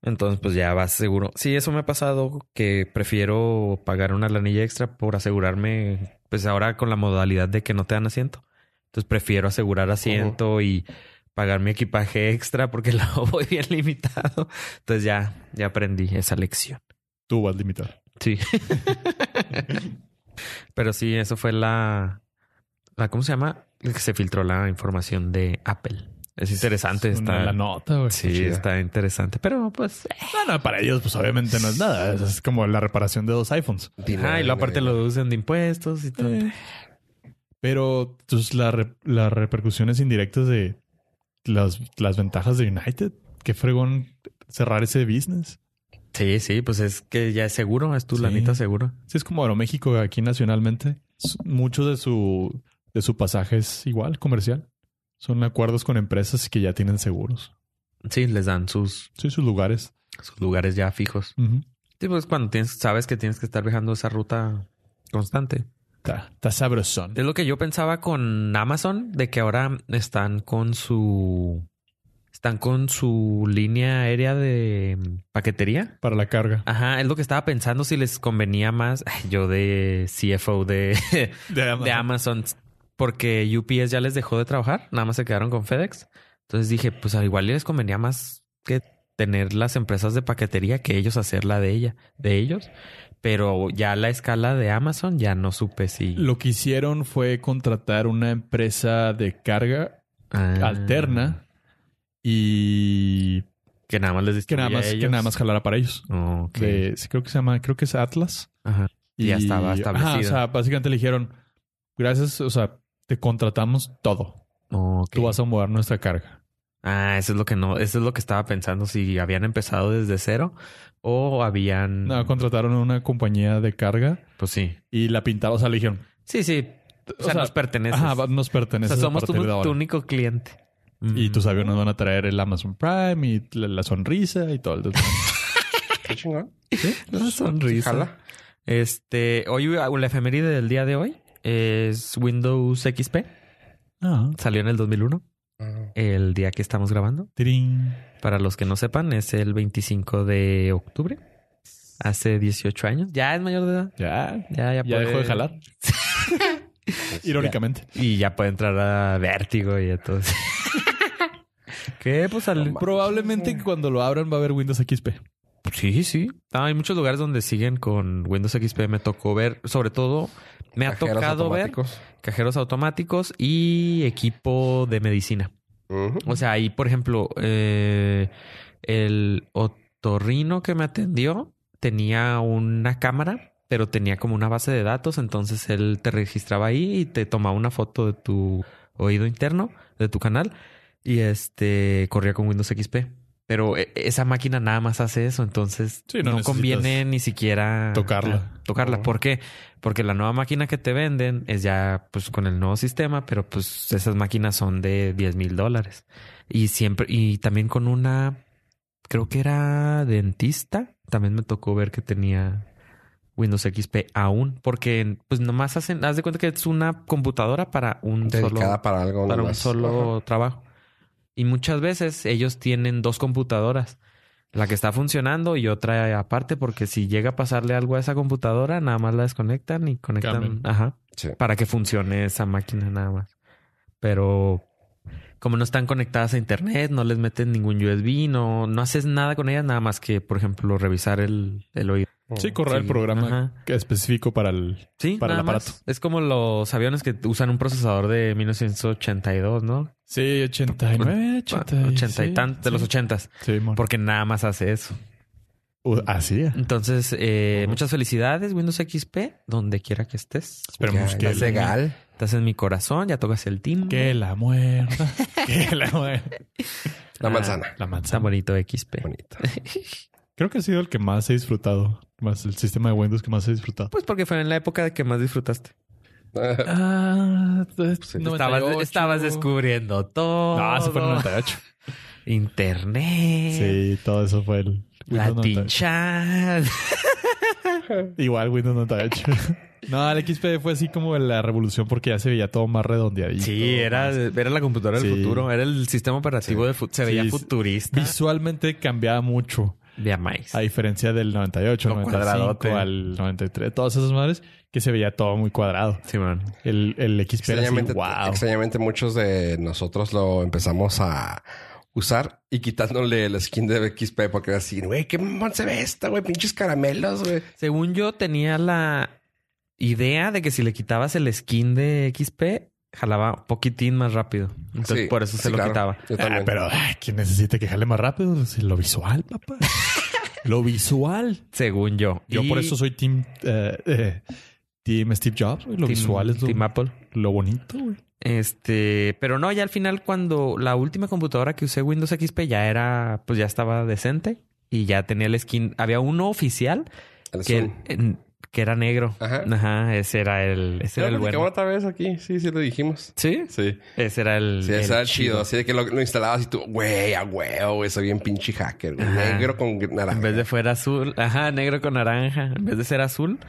Speaker 3: Entonces, pues ya vas seguro. Sí, eso me ha pasado que prefiero pagar una lanilla extra por asegurarme, pues ahora con la modalidad de que no te dan asiento. Entonces prefiero asegurar asiento y pagar mi equipaje extra porque lo voy bien limitado. Entonces ya, ya aprendí esa lección.
Speaker 2: tú vas a limitar.
Speaker 3: Sí. Pero sí, eso fue la, la. ¿Cómo se llama? El que se filtró la información de Apple. Es interesante. Está,
Speaker 2: Una- La nota, güey.
Speaker 3: sí,
Speaker 1: chida.
Speaker 3: está interesante. Pero pues. eh.
Speaker 2: No, no, para ellos, pues obviamente no es nada. Es, es como la reparación de dos iPhones.
Speaker 1: Dinero,
Speaker 3: Ah, y lo aparte
Speaker 1: dinero.
Speaker 3: lo deducen de impuestos y todo.
Speaker 2: Eh, Pero pues, la re- las repercusiones indirectas de las, las ventajas de United. Qué fregón cerrar ese business.
Speaker 3: Sí, sí, pues es que ya es seguro, es tu
Speaker 2: Sí.
Speaker 3: lanita seguro.
Speaker 2: Sí, es como Aeroméxico aquí nacionalmente. S- Mucho de su, de su pasaje es igual, comercial. Son acuerdos con empresas que ya tienen seguros.
Speaker 3: Sí, les dan sus,
Speaker 2: Sí, sus lugares.
Speaker 3: sus lugares ya fijos.
Speaker 2: Ujú.
Speaker 3: Sí, pues cuando tienes, sabes que tienes que estar viajando esa ruta constante.
Speaker 2: Está, está sabrosón.
Speaker 3: Es lo que yo pensaba con Amazon, de que ahora están con su. Están con su línea aérea de paquetería.
Speaker 2: Para la carga.
Speaker 3: Ajá, es lo que estaba pensando si les convenía más. Ay, Yo de CFO de,
Speaker 2: De Amazon.
Speaker 3: de Amazon, porque UPS ya les dejó de trabajar, nada más se quedaron con FedEx. Entonces dije, pues al igual les convenía más que tener las empresas de paquetería que ellos hacer la de ella, de ellos. Pero ya la escala de Amazon ya no supe si
Speaker 2: Lo que hicieron fue contratar una empresa de carga
Speaker 3: Ah.
Speaker 2: alterna y
Speaker 3: que nada más les
Speaker 2: que nada
Speaker 3: distribuía
Speaker 2: más,
Speaker 3: a
Speaker 2: que
Speaker 3: ellos.
Speaker 2: nada más jalara para ellos.
Speaker 3: Ok.
Speaker 2: De- sí, creo que se llama, creo que es Atlas.
Speaker 3: Ajá. Y ya estaba
Speaker 2: Ajá,
Speaker 3: establecida.
Speaker 2: o sea, básicamente le dijeron, gracias, o sea, te contratamos todo.
Speaker 3: Ok.
Speaker 2: Tú vas a mover nuestra carga.
Speaker 3: Ah, eso es lo que no, eso es lo que estaba pensando si habían empezado desde cero o habían
Speaker 2: No, contrataron una compañía de carga
Speaker 3: pues sí.
Speaker 2: y la pintaron, o sea, le dijeron,
Speaker 3: Sí, sí. O,
Speaker 2: O
Speaker 3: sea,
Speaker 2: sea,
Speaker 3: nos pertenece.
Speaker 2: ajá, va- nos
Speaker 3: O
Speaker 2: pertenece
Speaker 3: sea, somos
Speaker 2: a
Speaker 3: tu,
Speaker 2: partir de ahora.
Speaker 3: tu único cliente.
Speaker 2: Y tus
Speaker 3: Mm.
Speaker 2: aviones van a traer el Amazon Prime y la, la sonrisa y todo el
Speaker 1: Qué chingón.
Speaker 3: La sonrisa.
Speaker 1: Jala.
Speaker 3: Este, hoy la efeméride del día de hoy es Windows XP.
Speaker 2: Ah,
Speaker 3: Salió en el 2001,
Speaker 1: Ah,
Speaker 3: el día que estamos grabando.
Speaker 2: tirín.
Speaker 3: Para los que no sepan, es el 25 de octubre. Hace 18 años. Ya es mayor de edad.
Speaker 2: Ya.
Speaker 3: Ya,
Speaker 2: Ya
Speaker 3: ya, puede-
Speaker 2: dejó de jalar.
Speaker 1: Pues
Speaker 2: Irónicamente.
Speaker 3: Y ya puede entrar a Vértigo y entonces. ¿Qué? Pues al-
Speaker 1: No
Speaker 2: Probablemente que cuando lo abran va a haber Windows XP.
Speaker 3: Sí, sí. Ah, hay muchos lugares donde siguen con Windows XP. Me tocó ver, sobre todo, me ha
Speaker 1: Cajeros
Speaker 3: tocado ver
Speaker 1: automáticos.
Speaker 3: cajeros automáticos y equipo de medicina.
Speaker 1: Ujú.
Speaker 3: O sea, ahí, por ejemplo, eh, el otorrino que me atendió tenía una cámara, pero tenía como una base de datos. Entonces él te registraba ahí y te tomaba una foto de tu oído interno, de tu canal, y este corría con Windows XP. Pero e- esa máquina nada más hace eso, entonces
Speaker 2: Sí, no
Speaker 3: no,
Speaker 2: necesitas
Speaker 3: conviene ni siquiera
Speaker 2: tocarla.
Speaker 3: Ah, Tocarla.
Speaker 1: Ujú.
Speaker 3: ¿Por qué? Porque la nueva máquina que te venden es ya pues con el nuevo sistema, pero pues esas máquinas son de 10 mil dólares. Y siempre, y también con una, creo que era dentista, también me tocó ver que tenía Windows XP aún, porque pues nomás hacen, haz de cuenta que es una computadora para un
Speaker 1: Dedicada
Speaker 3: solo,
Speaker 1: para algo.
Speaker 3: para un
Speaker 1: nomás.
Speaker 3: solo trabajo. Y muchas veces ellos tienen dos computadoras. La que está funcionando y otra aparte, porque si llega a pasarle algo a esa computadora, nada más la desconectan y conectan.
Speaker 2: Cambian.
Speaker 3: Ajá.
Speaker 1: Sí.
Speaker 3: Para que funcione esa máquina nada más. Pero como no están conectadas a internet, no les meten ningún USB, no, no haces nada con ellas, nada más que, por ejemplo, revisar el, el oído.
Speaker 1: Ujú.
Speaker 2: Sí, correr el
Speaker 3: Sí,
Speaker 2: programa
Speaker 3: ajá.
Speaker 2: que- específico para el.
Speaker 3: Sí,
Speaker 2: Para el
Speaker 3: nada más.
Speaker 2: aparato.
Speaker 3: Es como los aviones que usan un procesador de 1982, ¿no?
Speaker 2: Sí, 89, 80,
Speaker 3: 80 y tantos, de los 80
Speaker 2: Sí, mon.
Speaker 3: porque nada más hace eso.
Speaker 2: Uh, así. es.
Speaker 3: Entonces, eh,
Speaker 1: Ujú.
Speaker 3: muchas felicidades, Windows XP, donde quiera que estés.
Speaker 2: Esperemos
Speaker 1: Ya,
Speaker 2: que,
Speaker 1: ya es
Speaker 2: la,
Speaker 1: legal.
Speaker 3: Estás en mi corazón, ya tocas el timbre.
Speaker 2: que la muerda. que la muerda.
Speaker 1: La
Speaker 3: Ah,
Speaker 1: manzana.
Speaker 2: La
Speaker 3: Está
Speaker 2: manzana.
Speaker 3: bonito XP.
Speaker 1: Bonita.
Speaker 2: Creo que ha sido el que más he disfrutado. Más el sistema de Windows que más he disfrutado.
Speaker 3: Pues porque fue en la época de que más disfrutaste.
Speaker 2: Ah,
Speaker 1: Sí.
Speaker 3: Pues, Estabas, estabas descubriendo todo.
Speaker 2: No, eso fue en 98.
Speaker 3: Internet.
Speaker 2: Sí, todo eso fue el
Speaker 3: La
Speaker 2: Windows 98.
Speaker 3: tinchan.
Speaker 2: Igual Windows 98. No, el XP fue así como la revolución porque ya se veía todo más redondeadito.
Speaker 3: Sí, era,
Speaker 2: más-
Speaker 3: era la computadora del
Speaker 2: Sí.
Speaker 3: futuro. Era el sistema operativo de fu- Se
Speaker 2: Sí,
Speaker 3: veía
Speaker 2: sí.
Speaker 3: futurista.
Speaker 2: Visualmente cambiaba mucho,
Speaker 3: Vea más.
Speaker 2: a diferencia del 98,
Speaker 3: Lo
Speaker 2: 95
Speaker 3: cuadradote.
Speaker 2: al 93, todas esas madres, que se veía todo muy cuadrado.
Speaker 3: Sí, man.
Speaker 2: El, el XP era así,
Speaker 1: Extrañamente,
Speaker 2: wow.
Speaker 1: extrañamente muchos de nosotros lo empezamos a usar y quitándole el skin de XP porque era así, güey, qué mamón se ve esta, güey, pinches caramelos, güey.
Speaker 3: Según yo tenía la idea de que si le quitabas el skin de XP, jalaba un poquitín más rápido. Entonces
Speaker 1: Sí,
Speaker 3: por eso se
Speaker 1: sí,
Speaker 3: lo
Speaker 1: claro.
Speaker 3: quitaba.
Speaker 1: Yo
Speaker 2: Ah,
Speaker 1: también.
Speaker 2: pero ay, ¿quién necesita que jale más rápido? Sí, Lo visual, papá. Lo visual.
Speaker 3: Según yo.
Speaker 2: Yo
Speaker 3: Y
Speaker 2: por eso soy team eh, eh, Team Steve Jobs, güey. Lo
Speaker 3: Team-
Speaker 2: visual es lo,
Speaker 3: Team Apple.
Speaker 2: lo bonito, güey.
Speaker 3: Este, pero no, ya al final cuando la última computadora que usé Windows XP ya era, pues ya estaba decente y ya tenía el skin. Había uno oficial
Speaker 1: El
Speaker 3: que,
Speaker 1: Zoom.
Speaker 3: en- que era negro.
Speaker 1: Ajá.
Speaker 3: Ajá. Ese era el, ese
Speaker 1: Ya lo
Speaker 3: era el bueno.
Speaker 1: platicamos otra vez aquí. Sí, sí lo dijimos.
Speaker 3: Sí,
Speaker 1: Sí.
Speaker 3: ese era el,
Speaker 1: Sí,
Speaker 3: el
Speaker 1: estaba chido. Así de que lo, lo instalabas y tú, güey, a huevo, güey, soy bien pinche hacker. güey.
Speaker 3: Ajá.
Speaker 1: Negro con naranja.
Speaker 3: En vez de fuera azul, ajá, negro con naranja. En vez de ser azul,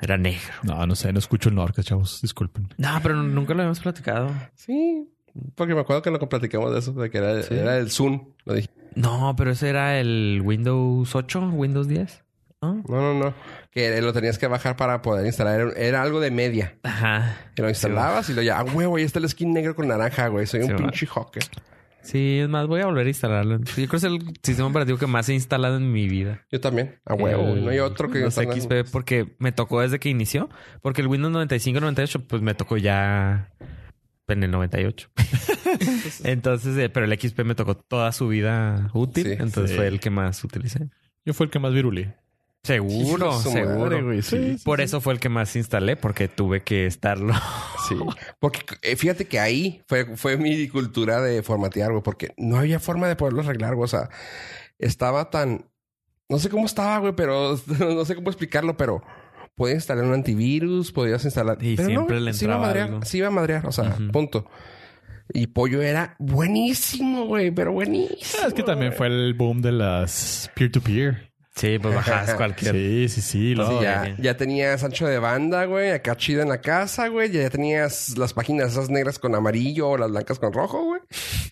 Speaker 3: era negro.
Speaker 2: No, no sé, no escucho el Norca, chavos. Disculpen.
Speaker 3: No, pero
Speaker 1: Ah.
Speaker 3: nunca lo habíamos platicado.
Speaker 1: Sí. Porque me acuerdo que lo platicamos de eso, de que era, era el Zoom. Lo dije.
Speaker 3: No, pero ese era el Windows 8, Windows 10. ¿no?
Speaker 1: No, no, no. Que lo tenías que bajar para poder instalar. Era, era algo de media.
Speaker 3: Ajá.
Speaker 1: Que lo instalabas y lo ya, a huevo, ahí está el skin negro con naranja, güey. Soy un
Speaker 3: Sí, va.
Speaker 1: pinche hacker.
Speaker 3: Sí, es más, voy a volver a instalarlo. Yo creo que es el sistema operativo que más he instalado en mi vida.
Speaker 1: Yo también. A huevo, güey. Mm, No hay otro que
Speaker 3: Los
Speaker 1: instalar.
Speaker 3: XP, porque me tocó desde que inició. Porque el Windows 95, 98, pues me tocó ya en el 98. Entonces, eh, pero el XP me tocó toda su vida útil.
Speaker 1: Sí,
Speaker 3: entonces
Speaker 2: sí.
Speaker 3: fue el que más utilicé.
Speaker 2: Yo fui el que más virulé.
Speaker 3: Seguro,
Speaker 1: Hijo de su madre,
Speaker 3: seguro.
Speaker 1: güey,
Speaker 2: sí.
Speaker 3: Por eso fue el que más instalé, porque tuve que estarlo.
Speaker 1: Sí. Porque eh, fíjate que ahí fue, fue mi cultura de formatear, güey, porque no había forma de poderlo arreglar, güey. O sea, estaba tan. No sé cómo estaba, güey, pero no sé cómo explicarlo, pero podías instalar un antivirus, podías instalar.
Speaker 3: Y
Speaker 1: pero no,
Speaker 3: siempre le
Speaker 1: sí iba a
Speaker 3: entraba
Speaker 1: madrear,
Speaker 3: algo.
Speaker 1: sí iba a madrear, o sea,
Speaker 3: Ujú.
Speaker 1: punto. Y Pollo era buenísimo, güey, pero buenísimo.
Speaker 2: Ah, Es que también
Speaker 1: güey.
Speaker 2: fue el boom de las peer-to-peer.
Speaker 3: Sí, pues bajabas cualquier.
Speaker 2: Sí, sí, sí.
Speaker 1: Sí,
Speaker 2: luego-
Speaker 1: ya, ya tenías ancho de banda, güey, acá chido en la casa, güey. Ya tenías las páginas esas negras con amarillo o las blancas con rojo, güey.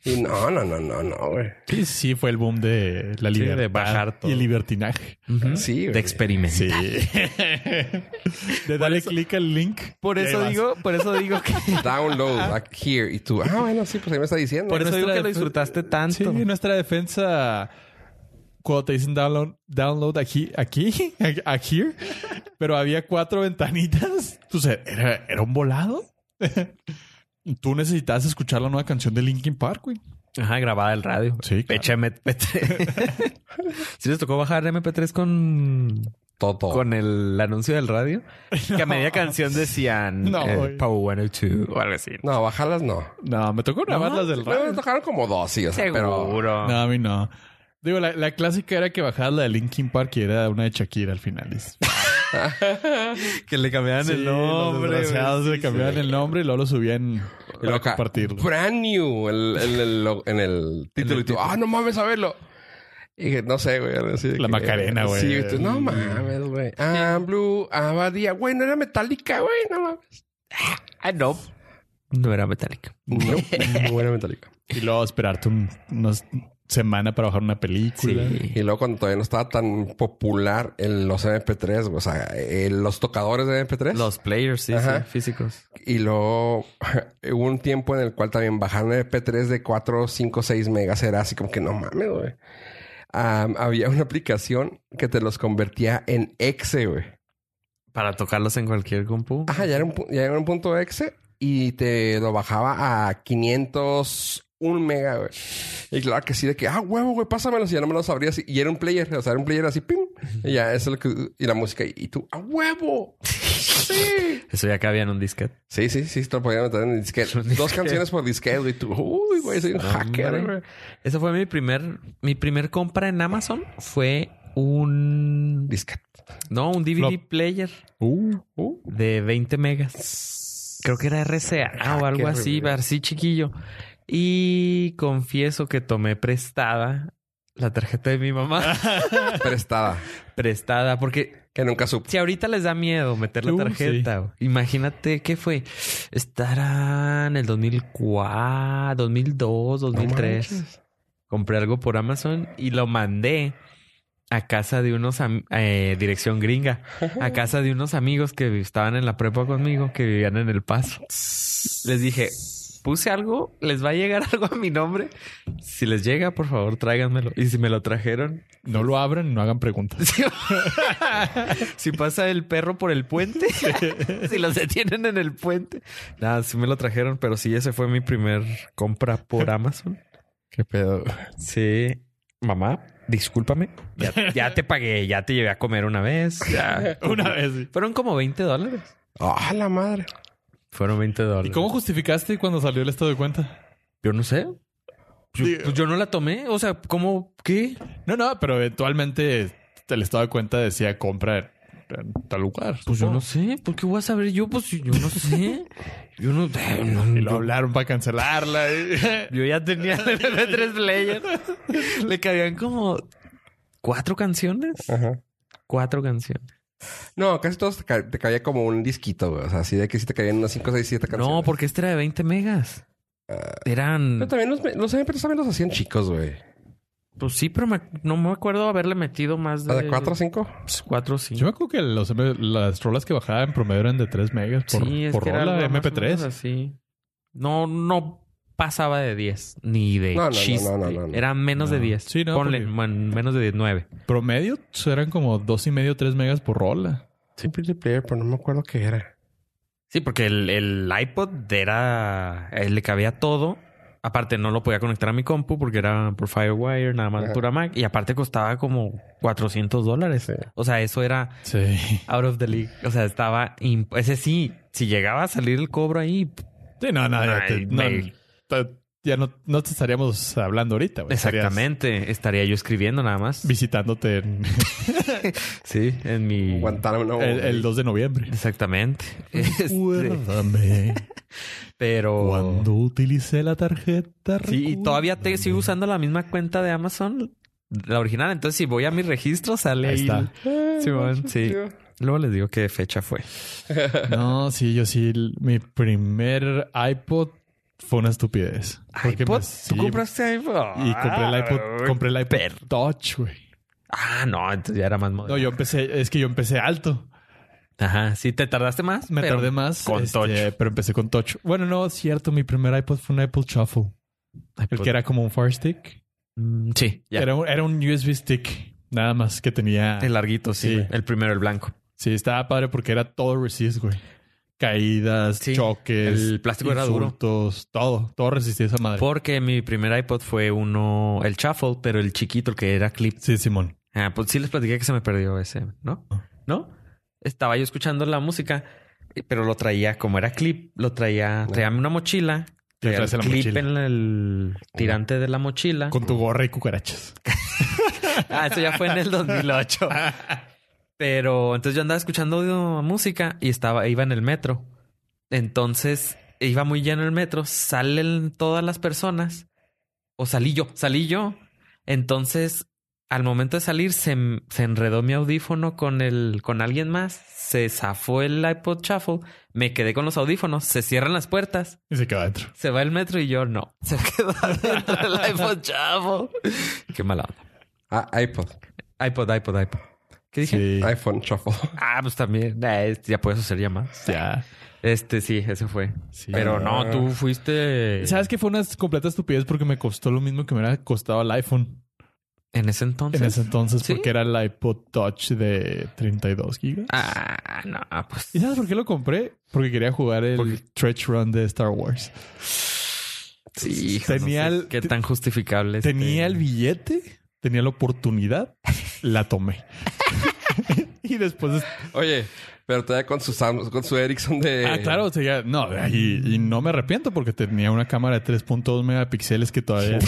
Speaker 1: Y no, no, no, no, no, güey.
Speaker 2: Sí, sí, fue el boom de la
Speaker 3: Sí,
Speaker 2: libertad
Speaker 3: de bajar todo.
Speaker 2: y el libertinaje.
Speaker 3: Ujú.
Speaker 1: Sí, güey.
Speaker 3: de experimentar.
Speaker 2: Sí. de darle clic al link.
Speaker 3: Por
Speaker 2: y ahí
Speaker 3: eso
Speaker 2: vas.
Speaker 3: digo, por eso digo que
Speaker 1: Download like, here. Y tú, ah, bueno, sí, pues ahí me está diciendo.
Speaker 3: por eso digo
Speaker 2: nuestra
Speaker 3: que lo
Speaker 2: defen-
Speaker 3: disfrutaste
Speaker 2: Sí,
Speaker 3: tanto.
Speaker 2: nuestra defensa. Cuando te dicen download, download aquí, aquí, aquí, pero había cuatro ventanitas. Pues era, era un volado. Tú necesitabas escuchar la nueva canción de Linkin Park, güey.
Speaker 3: Ajá, grabada el radio.
Speaker 2: Sí, claro.
Speaker 3: Echa MP3. ¿Sí les tocó bajar MP3 con,
Speaker 1: Todo.
Speaker 3: con el anuncio del radio? Que a media canción decían
Speaker 2: No,
Speaker 3: eh,
Speaker 2: güey.
Speaker 3: Power 102 o algo así.
Speaker 1: No, bajarlas no.
Speaker 2: No, me tocó grabar las del
Speaker 1: Bueno,
Speaker 2: radio.
Speaker 1: me tocaron como dos, sí, o sea, pero.
Speaker 3: Seguro.
Speaker 2: No, a mí no. Digo, la, la clásica era que bajabas la de Linkin Park y era una de Shakira al final. Es-
Speaker 3: Que le cambiaban
Speaker 2: Sí,
Speaker 3: el
Speaker 2: Los
Speaker 3: nombre.
Speaker 2: desgraciados
Speaker 3: güey.
Speaker 2: le cambiaban el nombre y luego lo subían para
Speaker 1: Loca,
Speaker 2: compartirlo.
Speaker 1: Brand new el- el- el- lo- en el título. y tú, ah, no mames, a verlo. Y dije, no sé, güey. así de
Speaker 2: La
Speaker 1: que-
Speaker 2: Macarena, güey.
Speaker 1: Sí, y tú, no mames, güey. Ah, Blue, Abadía. Güey, no era metálica, güey. No mames.
Speaker 3: Ah, no. No era Metallica.
Speaker 1: No, no era metálica.
Speaker 2: Y luego esperarte un- unas semana para bajar una película.
Speaker 1: Y luego cuando todavía no estaba tan popular el- los MP3, güey, o sea, eh, los tocadores de MP3.
Speaker 3: Los players, sí,
Speaker 1: Ajá.
Speaker 3: sí, físicos.
Speaker 1: Y luego hubo un tiempo en el cual también bajaron el MP3 de 4, 5, 6 megas. Era así como que no mames, güey. Am, había una aplicación que te los convertía en exe, güey.
Speaker 3: Para tocarlos en cualquier compu.
Speaker 1: Ajá, ya era, un, pu- ya era un punto exe y te lo bajaba a 501 mega, güey. Y claro que sí, de que, ah, huevo, güey, pásamelo. Si ya no me los abrías. Y era un player, o sea, era un player así, pim. Y ya, eso es lo que. Y la música, y tú, a huevo. Sí.
Speaker 3: Eso ya cabía en un disquete.
Speaker 1: Sí, sí, sí, te lo podían meter en disquete.
Speaker 3: Un disquete.
Speaker 1: Dos canciones por disquete, güey. Tú, uy, güey, soy un
Speaker 3: Hombre.
Speaker 1: hacker, güey.
Speaker 3: Esa fue mi primer, mi primer compra en Amazon. Fue un,
Speaker 1: Disquete.
Speaker 3: no, un DVD
Speaker 2: Flop.
Speaker 3: player
Speaker 2: Uh,
Speaker 3: de 20 megas. Creo que era RCA o
Speaker 1: Hacker,
Speaker 3: algo así,
Speaker 1: güey.
Speaker 3: así chiquillo. Y confieso que tomé prestada la tarjeta de mi mamá.
Speaker 1: Prestada.
Speaker 3: prestada, porque
Speaker 1: Que nunca supo.
Speaker 3: si ahorita les da miedo meter la
Speaker 2: Uh,
Speaker 3: tarjeta, güey, imagínate qué fue. Estará en el 2004, 2002, 2003. compré algo por Amazon y lo mandé a casa de unos am- eh, dirección gringa,
Speaker 1: Oh.
Speaker 3: a casa de unos amigos que estaban en la prepa conmigo, que vivían en El Paso. Les dije, puse algo, les va a llegar algo a mi nombre. Si les llega, por favor, tráiganmelo. Y si me lo trajeron,
Speaker 2: no lo abran y no hagan preguntas.
Speaker 3: si, si pasa el perro por el puente, si los detienen en el puente. Nada, sí me lo trajeron, pero sí, ese fue mi primer compra por Amazon.
Speaker 1: Qué pedo.
Speaker 3: Sí. Mamá, discúlpame. Ya, ya te pagué, ya te llevé a comer una vez. ya.
Speaker 2: Una vez.
Speaker 3: Fueron como 20 dólares.
Speaker 1: ¡Ah, la madre!
Speaker 3: Fueron 20
Speaker 2: ¿Y
Speaker 3: dólares.
Speaker 2: cómo justificaste cuando salió el estado de cuenta?
Speaker 3: Yo no sé. Yo, pues yo no la tomé. O sea, ¿cómo? ¿Qué?
Speaker 2: No, no, pero eventualmente el estado de cuenta decía compra en tal lugar.
Speaker 3: Pues yo
Speaker 2: supongo.
Speaker 3: no sé. ¿Por qué voy a saber yo? Pues yo no sé. Yo no... no,
Speaker 2: Y lo
Speaker 3: yo-
Speaker 2: hablaron para cancelarla. y-
Speaker 3: Yo ya tenía el MP3 player. Le cabían como cuatro canciones.
Speaker 1: Ajá.
Speaker 3: Cuatro canciones.
Speaker 1: No, casi todos te, ca- te cabía como un disquito, güey. O sea, así de que sí te cabían unas 5, 6, 7 canciones.
Speaker 3: No, porque este era de 20 megas.
Speaker 1: Ah.
Speaker 3: Eran.
Speaker 1: Pero también los, los MP3 también los hacían chicos, güey.
Speaker 3: Pues sí, pero me- no me acuerdo haberle metido más
Speaker 1: O
Speaker 3: de.
Speaker 1: sea, 4 o 5.
Speaker 3: Pues, cuatro, sí.
Speaker 2: Yo me acuerdo que los M- las rolas que bajaba en promedio eran de 3 megas por,
Speaker 3: sí, es
Speaker 2: por
Speaker 3: que era
Speaker 2: rola
Speaker 3: algo más o menos
Speaker 2: MP3.
Speaker 3: Así. No, no pasaba de 10. Ni de
Speaker 1: No, no, no,
Speaker 3: chiste.
Speaker 1: no, no, no, no.
Speaker 3: Era menos de
Speaker 2: No.
Speaker 3: 10.
Speaker 2: Sí, no,
Speaker 3: Ponle,
Speaker 2: porque-
Speaker 3: bueno, menos de 19.
Speaker 2: Promedio eran como dos y medio, 3 megas por rola.
Speaker 1: Simple player, pero no me acuerdo qué era.
Speaker 3: Sí, porque el, el iPod era. él le cabía todo. Aparte, no lo podía conectar a mi compu porque era por Firewire, nada más
Speaker 1: Ajá.
Speaker 3: pura Mac. Y aparte costaba como 400 dólares.
Speaker 1: Sí.
Speaker 3: O sea, eso era
Speaker 2: Sí.
Speaker 3: out of the league. O sea, estaba. imp- Ese sí, si llegaba a salir el cobro ahí. p-
Speaker 2: Sí, no, no, ya,
Speaker 3: Ay,
Speaker 2: te- no,
Speaker 3: me-
Speaker 2: ta- ya no, no te estaríamos hablando ahorita. güey. Estarías
Speaker 3: Exactamente. Estaría yo escribiendo nada más.
Speaker 2: Visitándote en-
Speaker 3: Sí, en mi.
Speaker 1: Guantánamo. no,
Speaker 2: el, el 2 de noviembre.
Speaker 3: Exactamente. Oh, Este,
Speaker 2: Recuérdame
Speaker 3: pero.
Speaker 2: cuando utilicé la tarjeta.
Speaker 3: Sí, y todavía te sigo
Speaker 2: recuérdame.
Speaker 3: usando la misma cuenta de Amazon, la original. Entonces, si voy a mi registro, sale
Speaker 2: Ahí
Speaker 3: ahí.
Speaker 2: está.
Speaker 1: güey.
Speaker 3: Simón, sí. Luego les digo qué fecha fue.
Speaker 2: No, sí, yo sí. l- Mi primer iPod fue una estupidez. Porque
Speaker 3: ¿iPod?
Speaker 2: me- sí,
Speaker 3: ¿Tú compraste iPod?
Speaker 2: Y compré el iPod,
Speaker 3: Ah,
Speaker 2: compré el iPod
Speaker 3: per-
Speaker 2: Touch, güey.
Speaker 3: Ah, no, entonces ya era más moderno.
Speaker 2: No, yo empecé, es que yo empecé alto.
Speaker 3: Ajá, sí, te tardaste más.
Speaker 2: Me
Speaker 3: pero-
Speaker 2: tardé más. este,
Speaker 3: con Touch.
Speaker 2: Pero empecé con Touch. Bueno, no, es cierto. Mi primer iPod fue un iPod Shuffle. El
Speaker 3: iPod.
Speaker 2: que era como un Fire Stick.
Speaker 3: Mm, Sí, ya.
Speaker 2: Era, un- era un USB Stick. Nada más que tenía...
Speaker 3: el larguito, sí.
Speaker 2: Sí.
Speaker 3: El primero, el blanco.
Speaker 2: Sí, estaba padre porque era todo resist, güey. Caídas,
Speaker 3: Sí,
Speaker 2: choques,
Speaker 3: el plástico era duro.
Speaker 2: insultos, todo. Todo resistía esa madre.
Speaker 3: Porque mi primer iPod fue uno, el shuffle, pero el chiquito, el que era clip.
Speaker 2: Sí, Simón.
Speaker 3: Ah, pues sí les platiqué que se me perdió ese, ¿no?
Speaker 2: Ah.
Speaker 3: ¿No? Estaba yo escuchando la música, eh, pero lo traía, como era clip, lo traía, traía una mochila, traía el
Speaker 2: traes en la
Speaker 3: clip
Speaker 2: mochila.
Speaker 3: en el tirante de la mochila.
Speaker 2: Con tu gorra y cucarachas.
Speaker 3: Ah, eso ya fue en el 2008. Pero entonces yo andaba escuchando audio- música y estaba, iba en el metro. Entonces iba muy lleno el metro, salen todas las personas. O salí yo, salí yo. Entonces, al momento de salir, se, m- se enredó mi audífono con el, con alguien más, se zafó el iPod Shuffle, me quedé con los audífonos, se cierran las puertas,
Speaker 2: Y se quedó adentro.
Speaker 3: se va el metro y yo no. Se quedó dentro del iPod Shuffle. Qué mala onda.
Speaker 1: Ah, iPod.
Speaker 3: iPod, iPod, iPod. ¿Qué dije?
Speaker 2: Sí.
Speaker 1: iPhone Shuffle.
Speaker 3: Ah, pues también. Nah, es- ya puedes hacer llamadas.
Speaker 2: Ya.
Speaker 3: Este sí, ese fue.
Speaker 2: Sí.
Speaker 3: Pero no,
Speaker 1: Ah.
Speaker 3: tú fuiste.
Speaker 2: ¿Sabes que fue una completa estupidez porque me costó lo mismo que me hubiera costado el iPhone
Speaker 3: En ese entonces.
Speaker 2: en ese entonces
Speaker 3: ¿Sí?
Speaker 2: porque era el iPod Touch de 32 gigas.
Speaker 3: Ah, no, pues.
Speaker 2: ¿Y sabes por qué lo compré? Porque quería jugar el
Speaker 3: Porque-
Speaker 2: Stretch Run de Star Wars.
Speaker 3: Sí, hijo,
Speaker 2: Tenía
Speaker 3: no sé
Speaker 2: el-
Speaker 3: Qué tan justificable. este es
Speaker 2: Tenía
Speaker 3: que-
Speaker 2: el billete, tenía la oportunidad, la tomé. y después...
Speaker 1: Oye, pero todavía con su Samsung, con su Ericsson de.
Speaker 3: Eh.
Speaker 2: Ah, claro, o sea, ya- no, y, y no me arrepiento porque tenía una cámara de 3.2 megapíxeles que todavía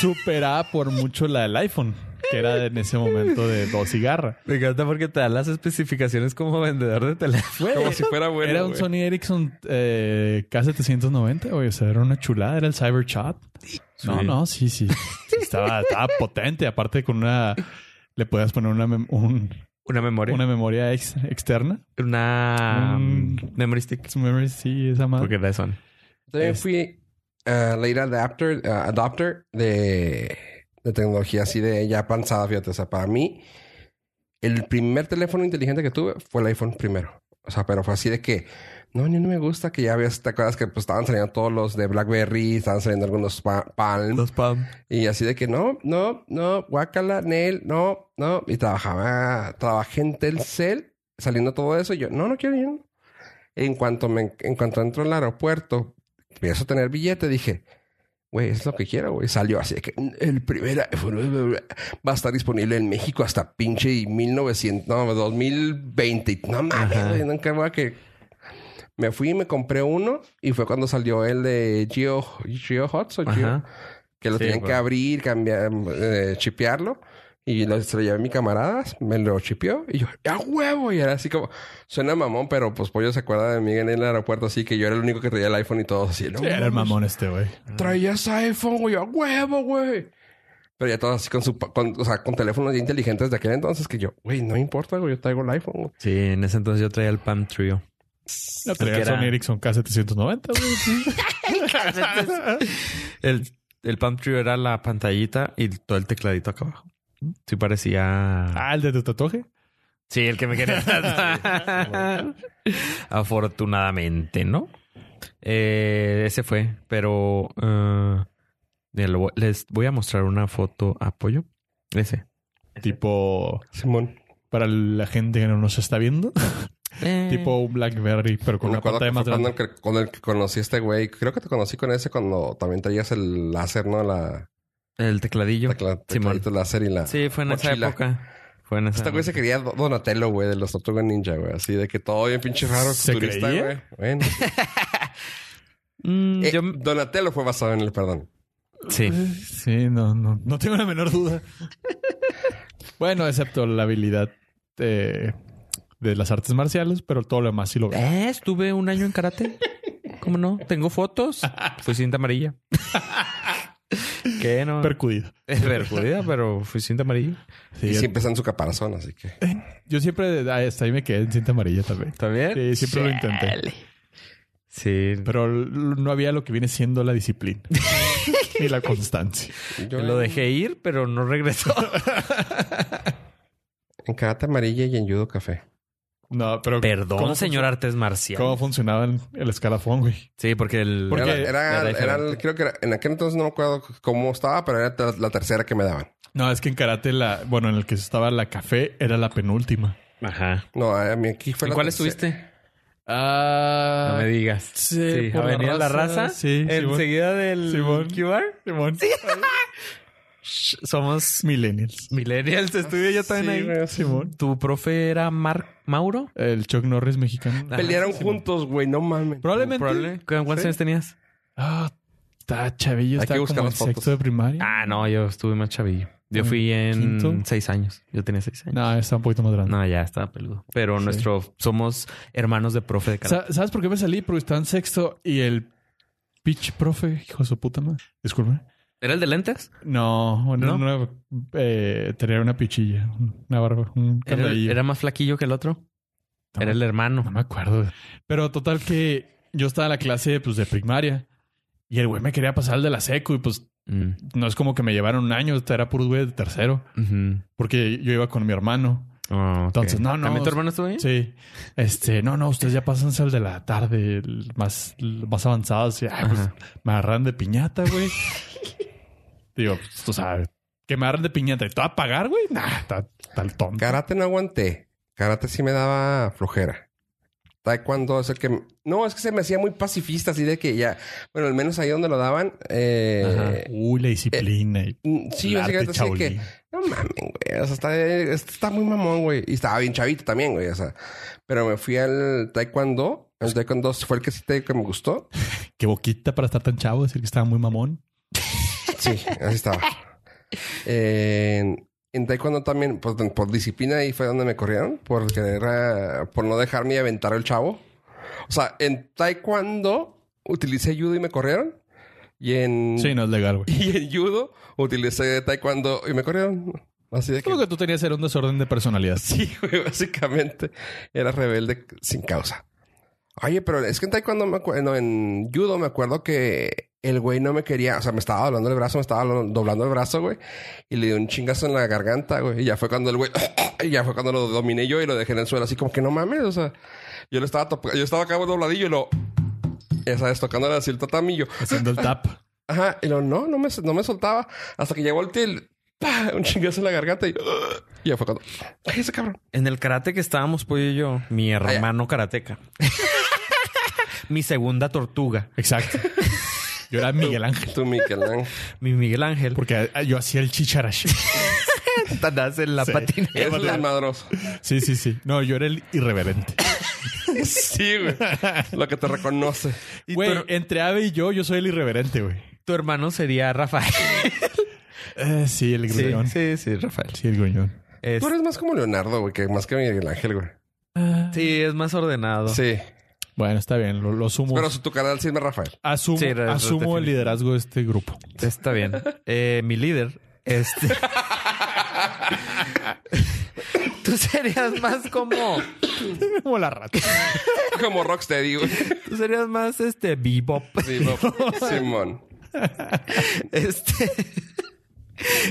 Speaker 2: superaba por mucho la del iPhone, que era en ese momento de dos cigarras.
Speaker 3: Me encanta porque te da las especificaciones como vendedor de teléfono.
Speaker 1: Como si fuera bueno.
Speaker 2: era un
Speaker 1: güey.
Speaker 2: Sony Ericsson eh, K790, güey. O sea, era una chulada. Era el Cyberchat. No, no, sí, sí. Sí, Estaba, estaba potente. Aparte con una... Le podías poner una, mem- un-
Speaker 3: Una memoria. Una,
Speaker 2: una memoria ex- externa.
Speaker 3: um,
Speaker 2: Un-
Speaker 3: memory stick.
Speaker 2: Su memory, sí, esa madre.
Speaker 3: Porque da son.
Speaker 1: También
Speaker 2: Es-
Speaker 1: fui a late adapter, ah, adopter de, de tecnología así de ya avanzada, fíjate. O sea, para mí, el primer teléfono inteligente que tuve fue el iPhone primero. O sea, pero fue así de que no, ni no me gusta que ya ves, te acuerdas que pues estaban saliendo todos los de BlackBerry, estaban saliendo algunos pa- Palm
Speaker 3: pam.
Speaker 1: y así de que no, no, no, guácala, Nel, no, no. Y trabajaba, trabajé en Telcel saliendo todo eso. Y yo, no, no quiero yo. no. En cuanto me, en cuanto entro al aeropuerto, empiezo a tener billete, dije, güey, es lo que quiero, güey. Salió así de que el primer iPhone, bla, bla, bla, va a estar disponible en México hasta pinche y 1900, no, 2020. No mames,
Speaker 3: Ajá.
Speaker 1: güey, nunca voy a que. Me fui y me compré uno y fue cuando salió el de Geo, Geo Hots o Geo,
Speaker 3: Ajá.
Speaker 1: que lo
Speaker 3: Sí,
Speaker 1: tenían que
Speaker 3: güey.
Speaker 1: abrir, cambiar, eh, chipearlo. Y lo, se lo llevé a mi camarada, me lo chipeó y yo, ¡a huevo! Y era así como, suena mamón, pero pues Pollo se acuerda de mí en el aeropuerto, así que yo era el único que traía el iPhone y todo así. ¿no?
Speaker 2: Sí, era el mamón este, güey.
Speaker 1: Traías iPhone, güey, a huevo, güey. Pero ya todos así con su, pa- con, o sea, con teléfonos ya inteligentes de aquel entonces que yo, güey, no me importa, güey, yo traigo el iPhone. güey.
Speaker 3: Sí, en ese entonces yo traía el Palm Trio.
Speaker 2: No, pero
Speaker 3: Porque
Speaker 2: era Sony
Speaker 3: era-
Speaker 2: Ericsson K790, güey. sí.
Speaker 3: El, el Palm Trio era la pantallita y todo el tecladito acá abajo. Sí parecía...
Speaker 2: Ah, el de tu tatuaje.
Speaker 3: Sí, el que me quería tatuar. Afortunadamente, ¿no? Eh, ese fue, pero eh, mira, lo voy- les voy a mostrar una foto apoyo. Ese.
Speaker 2: Tipo,
Speaker 1: Simón.
Speaker 2: para la gente que no nos está viendo,
Speaker 3: Eh,
Speaker 2: tipo un Blackberry, pero con
Speaker 1: me
Speaker 2: una
Speaker 1: acuerdo que
Speaker 2: pantalla más
Speaker 1: fue cuando
Speaker 2: grande.
Speaker 1: el que, con el que conocí a este güey. Creo que te conocí con ese cuando también traías el láser, ¿no? La,
Speaker 3: el tecladillo.
Speaker 1: la, la-
Speaker 3: Simón.
Speaker 1: tecladito láser y la...
Speaker 3: Sí, fue en esa
Speaker 1: mochila.
Speaker 3: época. Fue en esa
Speaker 1: Este güey se quería Do- Donatello, güey, de los Tortugas Ninja, güey. Así de que todo bien pinche raro,
Speaker 2: ¿Se
Speaker 1: futurista,
Speaker 2: creía?
Speaker 1: güey. Bueno.
Speaker 3: Mm,
Speaker 1: Eh,
Speaker 3: yo-
Speaker 1: Donatello fue basado en el perdón.
Speaker 3: Sí.
Speaker 2: Este, Sí, no, no, no tengo la menor duda. bueno, excepto la habilidad eh, de las artes marciales, pero todo lo demás sí lo veo.
Speaker 3: Eh, estuve un año en karate. ¿Cómo no? Tengo fotos. Fui cinta amarilla. ¿Qué no?
Speaker 2: Percudido.
Speaker 3: Es perjudida, pero fui cinta amarilla.
Speaker 2: Sí,
Speaker 1: y
Speaker 2: yo-
Speaker 1: siempre está en su caparazón, así que...
Speaker 2: Yo siempre ah, hasta ahí me quedé en cinta amarilla también.
Speaker 3: ¿También?
Speaker 2: Sí, siempre lo intenté.
Speaker 3: Sí.
Speaker 2: Pero l- no había lo que viene siendo la disciplina ni la constancia.
Speaker 1: Yo
Speaker 3: Lo
Speaker 1: en-
Speaker 3: dejé ir, pero no regresó.
Speaker 1: En karate amarilla y en judo café.
Speaker 2: No, pero ¿cómo
Speaker 3: Perdón,
Speaker 2: func-
Speaker 3: señor Artes Marcial.
Speaker 2: ¿Cómo funcionaba el, el escalafón, güey?
Speaker 3: Sí, porque el.
Speaker 2: ¿Por
Speaker 1: Era,
Speaker 2: qué?
Speaker 1: era-
Speaker 3: Era
Speaker 1: era el-
Speaker 3: diferente.
Speaker 1: creo que era- en aquel entonces no me acuerdo cómo estaba, pero era la- la tercera que me daban.
Speaker 2: No, es que en karate la, bueno, en el que estaba la café era la penúltima.
Speaker 3: Ajá.
Speaker 1: No, a mí aquí fue
Speaker 3: ¿En
Speaker 1: la
Speaker 3: cuál
Speaker 1: tercera.
Speaker 3: estuviste?
Speaker 2: Ah,
Speaker 3: No me digas.
Speaker 2: Sí, por la
Speaker 3: Avenida La
Speaker 2: Raza.
Speaker 3: Raza.
Speaker 2: Sí, Simón.
Speaker 3: Enseguida del
Speaker 2: Simón.
Speaker 3: QR.
Speaker 2: Simón.
Speaker 3: Sh- Somos
Speaker 2: Millennials.
Speaker 3: millennials. Estuve yo también ahí.
Speaker 2: Simón.
Speaker 3: ¿Tu profe era Mark Mauro?
Speaker 2: El Chuck Norris mexicano.
Speaker 3: Ajá.
Speaker 1: Pelearon juntos, güey, no mames.
Speaker 2: Probablemente.
Speaker 3: Probable. ¿Cuántos
Speaker 1: Sí.
Speaker 3: años tenías?
Speaker 2: Ah, está chavillo.
Speaker 1: Hay
Speaker 2: Está
Speaker 1: que buscar
Speaker 2: como en
Speaker 1: las fotos.
Speaker 2: sexto de primaria.
Speaker 3: Ah, no, yo estuve más chavillo. Yo
Speaker 2: ¿En
Speaker 3: fui en
Speaker 2: quinto?
Speaker 3: seis años. Yo tenía seis años.
Speaker 2: No, está un poquito más grande.
Speaker 3: No, ya estaba peludo. Pero
Speaker 2: Sí.
Speaker 3: nuestro somos hermanos de profe de karate.
Speaker 2: Sa- ¿Sabes por qué me salí? Porque estaba en sexto y el pitch profe, hijo de su puta madre. Disculpe.
Speaker 3: ¿Era el de lentes?
Speaker 2: No, bueno,
Speaker 3: ¿No?
Speaker 2: no, eh, tenía una pichilla, una barba, un
Speaker 3: Era, el-
Speaker 2: candadillo.
Speaker 3: era más flaquillo que el otro.
Speaker 2: No,
Speaker 3: Era el hermano.
Speaker 2: no me acuerdo. Pero total que yo estaba en la clase pues, de primaria y el güey me quería pasar el de la seco y pues
Speaker 3: Mm.
Speaker 2: no es como que me llevaron un año, era puro güey de tercero,
Speaker 3: Ujú.
Speaker 2: porque yo iba con mi hermano.
Speaker 3: Ah, ok.
Speaker 2: Entonces, no, no.
Speaker 3: ¿También tu hermano estuvo ahí?
Speaker 2: Sí. Este, no, no, ustedes ya pásense al de la tarde, el más, el más avanzado. Así, ay, pues,
Speaker 3: Ajá.
Speaker 2: me agarran de piñata, güey. Digo, pues, tú sabes, que me agarran de piñata y todo a pagar, güey. Nah, tal tonto.
Speaker 1: Karate no aguanté. Karate sí me daba flojera. Taekwondo es el que... No, es que se me hacía muy pacifista, así de que ya... Bueno, al menos ahí donde lo daban... Eh...
Speaker 2: Uy, la disciplina. y
Speaker 1: mm, Sí,
Speaker 2: el
Speaker 1: básicamente así de que...
Speaker 2: Shaolin.
Speaker 1: No mames, güey. O sea, está, este está muy mamón, güey. Y estaba bien chavito también, güey. O sea, pero me fui al taekwondo. El taekwondo fue el que sí te, que me gustó.
Speaker 2: Qué boquita para estar tan chavo, decir que estaba muy mamón.
Speaker 1: Sí, así estaba. En, en taekwondo también, pues, por disciplina ahí fue donde me corrieron. Por querer, eh, por no dejarme aventar el chavo. O sea, en taekwondo utilicé judo y me corrieron. Y en...
Speaker 2: Sí, no es legal, güey.
Speaker 1: Y en judo utilicé taekwondo y me corrieron. Así de que...
Speaker 2: Lo que tú tenías era un desorden de personalidad.
Speaker 1: Sí, güey, básicamente era rebelde sin causa. Oye, pero es que en taekwondo me acuerdo, en judo me acuerdo que el güey no me quería, o sea, me estaba doblando el brazo, me estaba lo- doblando el brazo, güey, y le di un chingazo en la garganta, güey, y ya fue cuando el güey, y ya fue cuando lo dominé yo y lo dejé en el suelo, así como que no mames, o sea, yo lo estaba, top- yo estaba acá dobladillo y lo, ya sabes, tocándole así el tatamillo.
Speaker 2: Haciendo el tap.
Speaker 1: Ajá, y lo, no, no me, no me soltaba, hasta que llegó el til, ¡pah! un chingazo en la garganta y, y ya fue cuando, ¡ay, ese cabrón!
Speaker 3: En el karate que estábamos, pues y yo, mi hermano karateca. mi segunda tortuga,
Speaker 2: Exacto. Yo era Miguel Ángel.
Speaker 1: Tú, Miguel Ángel.
Speaker 3: mi Miguel Ángel.
Speaker 2: Porque ah, yo hacía el chicharash.
Speaker 3: Satanás en la
Speaker 2: Sí.
Speaker 3: patineta.
Speaker 1: Es desmadroso.
Speaker 2: Sí, sí, sí. No, yo era el irreverente.
Speaker 1: Sí, güey. Lo que te reconoce.
Speaker 2: Y Güey,
Speaker 3: tu-
Speaker 2: entre Ave y yo, yo soy el irreverente, güey.
Speaker 3: Tu hermano sería Rafael.
Speaker 2: Eh, sí, el
Speaker 3: Sí,
Speaker 2: gruñón. Sí,
Speaker 3: sí, sí, Rafael.
Speaker 2: el gruñón.
Speaker 3: Es-
Speaker 1: Tú eres más como Leonardo, güey, que más que Miguel Ángel, güey.
Speaker 3: sí, es más ordenado.
Speaker 1: Sí.
Speaker 2: Bueno, está bien, lo, lo sumo.
Speaker 1: Pero su- tu canal sí es más Rafael.
Speaker 2: asumo
Speaker 3: Sí, re-
Speaker 2: asumo el
Speaker 3: definitivamente.
Speaker 2: liderazgo de este grupo.
Speaker 3: Está bien. Eh, mi líder, este. Tú serías más como.
Speaker 2: Como la rata.
Speaker 1: Como Rocksteady, güey.
Speaker 3: Tú serías más este bebop.
Speaker 1: Sí, no. Simón.
Speaker 3: Este.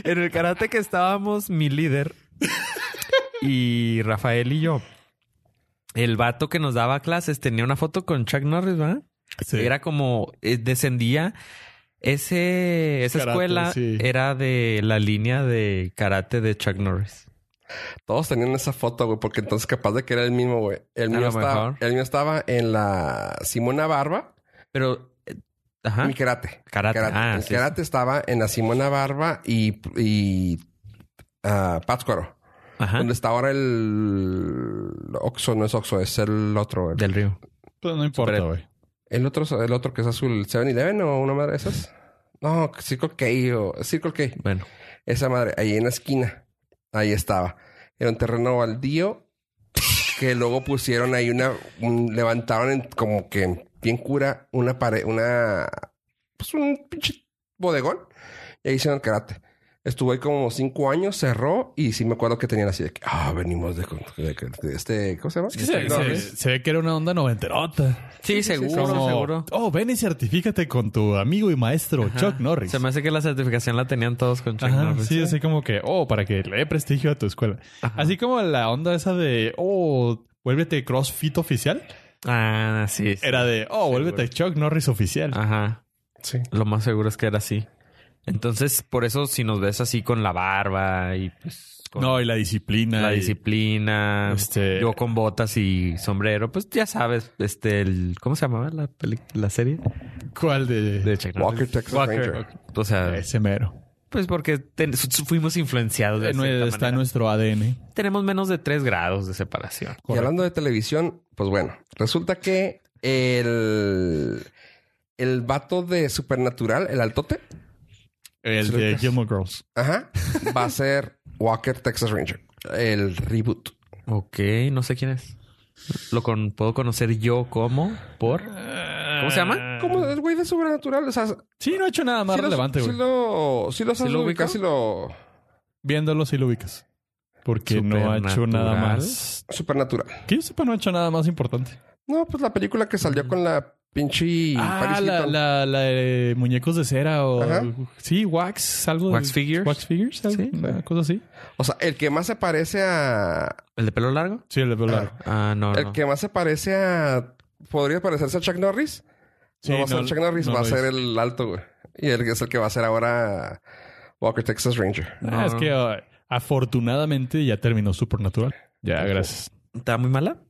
Speaker 3: En el karate que estábamos, mi líder y Rafael y yo. El vato que nos daba clases tenía una foto con Chuck Norris, ¿verdad? Era como eh, descendía ese esa
Speaker 2: Karate,
Speaker 3: escuela
Speaker 2: sí.
Speaker 3: era de la línea de karate de Chuck Norris.
Speaker 1: Todos tenían esa foto, güey, porque entonces capaz de que era el mismo, güey. El
Speaker 3: A
Speaker 1: mío,
Speaker 3: lo
Speaker 1: estaba,
Speaker 3: mejor.
Speaker 1: el mío estaba en la Simona Barba,
Speaker 3: Pero eh, ajá,
Speaker 1: mi karate.
Speaker 3: karate.
Speaker 1: Karate.
Speaker 3: Ah,
Speaker 1: el
Speaker 3: sí,
Speaker 1: karate estaba en la Simona Barba y, y ah, Pátzcuaro.
Speaker 3: sí. Ajá.
Speaker 1: Donde está ahora el Oxo, no es Oxo, es el otro, güey.
Speaker 3: Del río.
Speaker 2: Pues no importa,
Speaker 3: Super-
Speaker 2: güey.
Speaker 1: El otro, el otro que es azul, 7 Eleven o una madre de esas. No, Circle K o Circle K.
Speaker 3: Bueno,
Speaker 1: Esa madre, ahí en la esquina. Ahí estaba. Era un terreno baldío que luego pusieron ahí una. un- levantaron en- como que bien cura una pared, una. Pues un pinche bodegón. Y ahí hicieron karate. Estuvo ahí como cinco años, cerró y sí me acuerdo que tenían así de que, ah, venimos de, de- de este, ¿cómo se llama?
Speaker 2: Es que se,
Speaker 1: No,
Speaker 2: se-
Speaker 1: es-
Speaker 2: se ve que era una onda noventerota.
Speaker 1: sí, sí,
Speaker 3: sí, seguro,
Speaker 2: Como,
Speaker 3: seguro.
Speaker 2: Oh, ven y certifícate con tu amigo y maestro
Speaker 3: Ajá.
Speaker 2: Chuck Norris.
Speaker 3: Se me hace que la certificación la tenían todos con Chuck
Speaker 2: Ajá,
Speaker 3: Norris.
Speaker 2: sí, así como que, oh, para que le dé prestigio a tu escuela.
Speaker 3: Ajá.
Speaker 2: Así como la onda esa de, oh, vuélvete CrossFit oficial.
Speaker 3: Ah, sí. sí.
Speaker 2: Era de, oh,
Speaker 3: Sí,
Speaker 2: vuélvete
Speaker 3: güey. Ah,
Speaker 2: Chuck Norris oficial.
Speaker 3: Ajá.
Speaker 1: sí.
Speaker 3: Lo más seguro es que era así. Entonces, por eso si nos ves así con la barba y pues con
Speaker 2: no, y la disciplina.
Speaker 3: la
Speaker 2: y-
Speaker 3: disciplina,
Speaker 2: Este-
Speaker 3: yo con botas y sombrero, pues ya sabes, este el ¿cómo se llamaba la peli- la serie?
Speaker 2: ¿Cuál de...?
Speaker 3: De Ah. Chuck Norris.
Speaker 1: Walker, Texas
Speaker 3: Walker.
Speaker 1: Ranger.
Speaker 3: O sea,
Speaker 2: Ese mero.
Speaker 3: pues porque ten- su- su- fuimos influenciados de
Speaker 2: Eh, no,
Speaker 3: cierta
Speaker 2: está en
Speaker 3: manera.
Speaker 2: nuestro ADN.
Speaker 3: tenemos menos de tres grados de separación.
Speaker 1: Y hablando de televisión, pues bueno, resulta que el, el vato de Supernatural, el altote,
Speaker 2: El de Gilmore Girls.
Speaker 1: ajá, va a ser Walker Texas Ranger, el reboot.
Speaker 3: Ok, no sé quién es. Lo con- puedo conocer yo como por
Speaker 2: ¿Cómo
Speaker 3: se llama?
Speaker 1: Como el güey de Supernatural, o sea, sí
Speaker 2: Ah. Sí, no ha hecho nada más
Speaker 1: los-
Speaker 2: relevante,
Speaker 1: sí
Speaker 2: güey.
Speaker 1: lo, sí lo sabes
Speaker 3: lo
Speaker 1: ubicar,
Speaker 3: ubico?
Speaker 1: sí lo
Speaker 2: Viéndolo sí lo ubicas. Porque no ha hecho nada
Speaker 3: Supernatural.
Speaker 2: más...
Speaker 1: Supernatural.
Speaker 2: Que yo sepa, no ha hecho nada más importante.
Speaker 1: No, pues la película que salió con la pinche
Speaker 2: Mm. ah,
Speaker 1: Paris
Speaker 2: la,
Speaker 1: Hilton.
Speaker 2: la, la de muñecos de cera o...
Speaker 1: Ajá.
Speaker 2: Sí, wax, algo...
Speaker 3: Wax
Speaker 2: de-
Speaker 3: figures.
Speaker 2: Wax figures, algo,
Speaker 3: Sí.
Speaker 2: una cosa así.
Speaker 1: O sea, el que más se parece a
Speaker 3: el de pelo largo.
Speaker 2: Sí, el de pelo largo.
Speaker 3: Ah, no,
Speaker 1: el
Speaker 3: no.
Speaker 1: que más se parece a podría parecerse a Chuck Norris.
Speaker 2: Sí,
Speaker 1: no va a ser Chuck Norris,
Speaker 2: no
Speaker 1: va a
Speaker 2: lo
Speaker 1: ser
Speaker 2: hizo.
Speaker 1: el alto, güey. Y el que es el que va a ser ahora Walker Texas Ranger.
Speaker 2: Ah, es
Speaker 3: No.
Speaker 2: que ah, afortunadamente ya terminó Supernatural. Ya, gracias.
Speaker 3: ¿Está muy mala?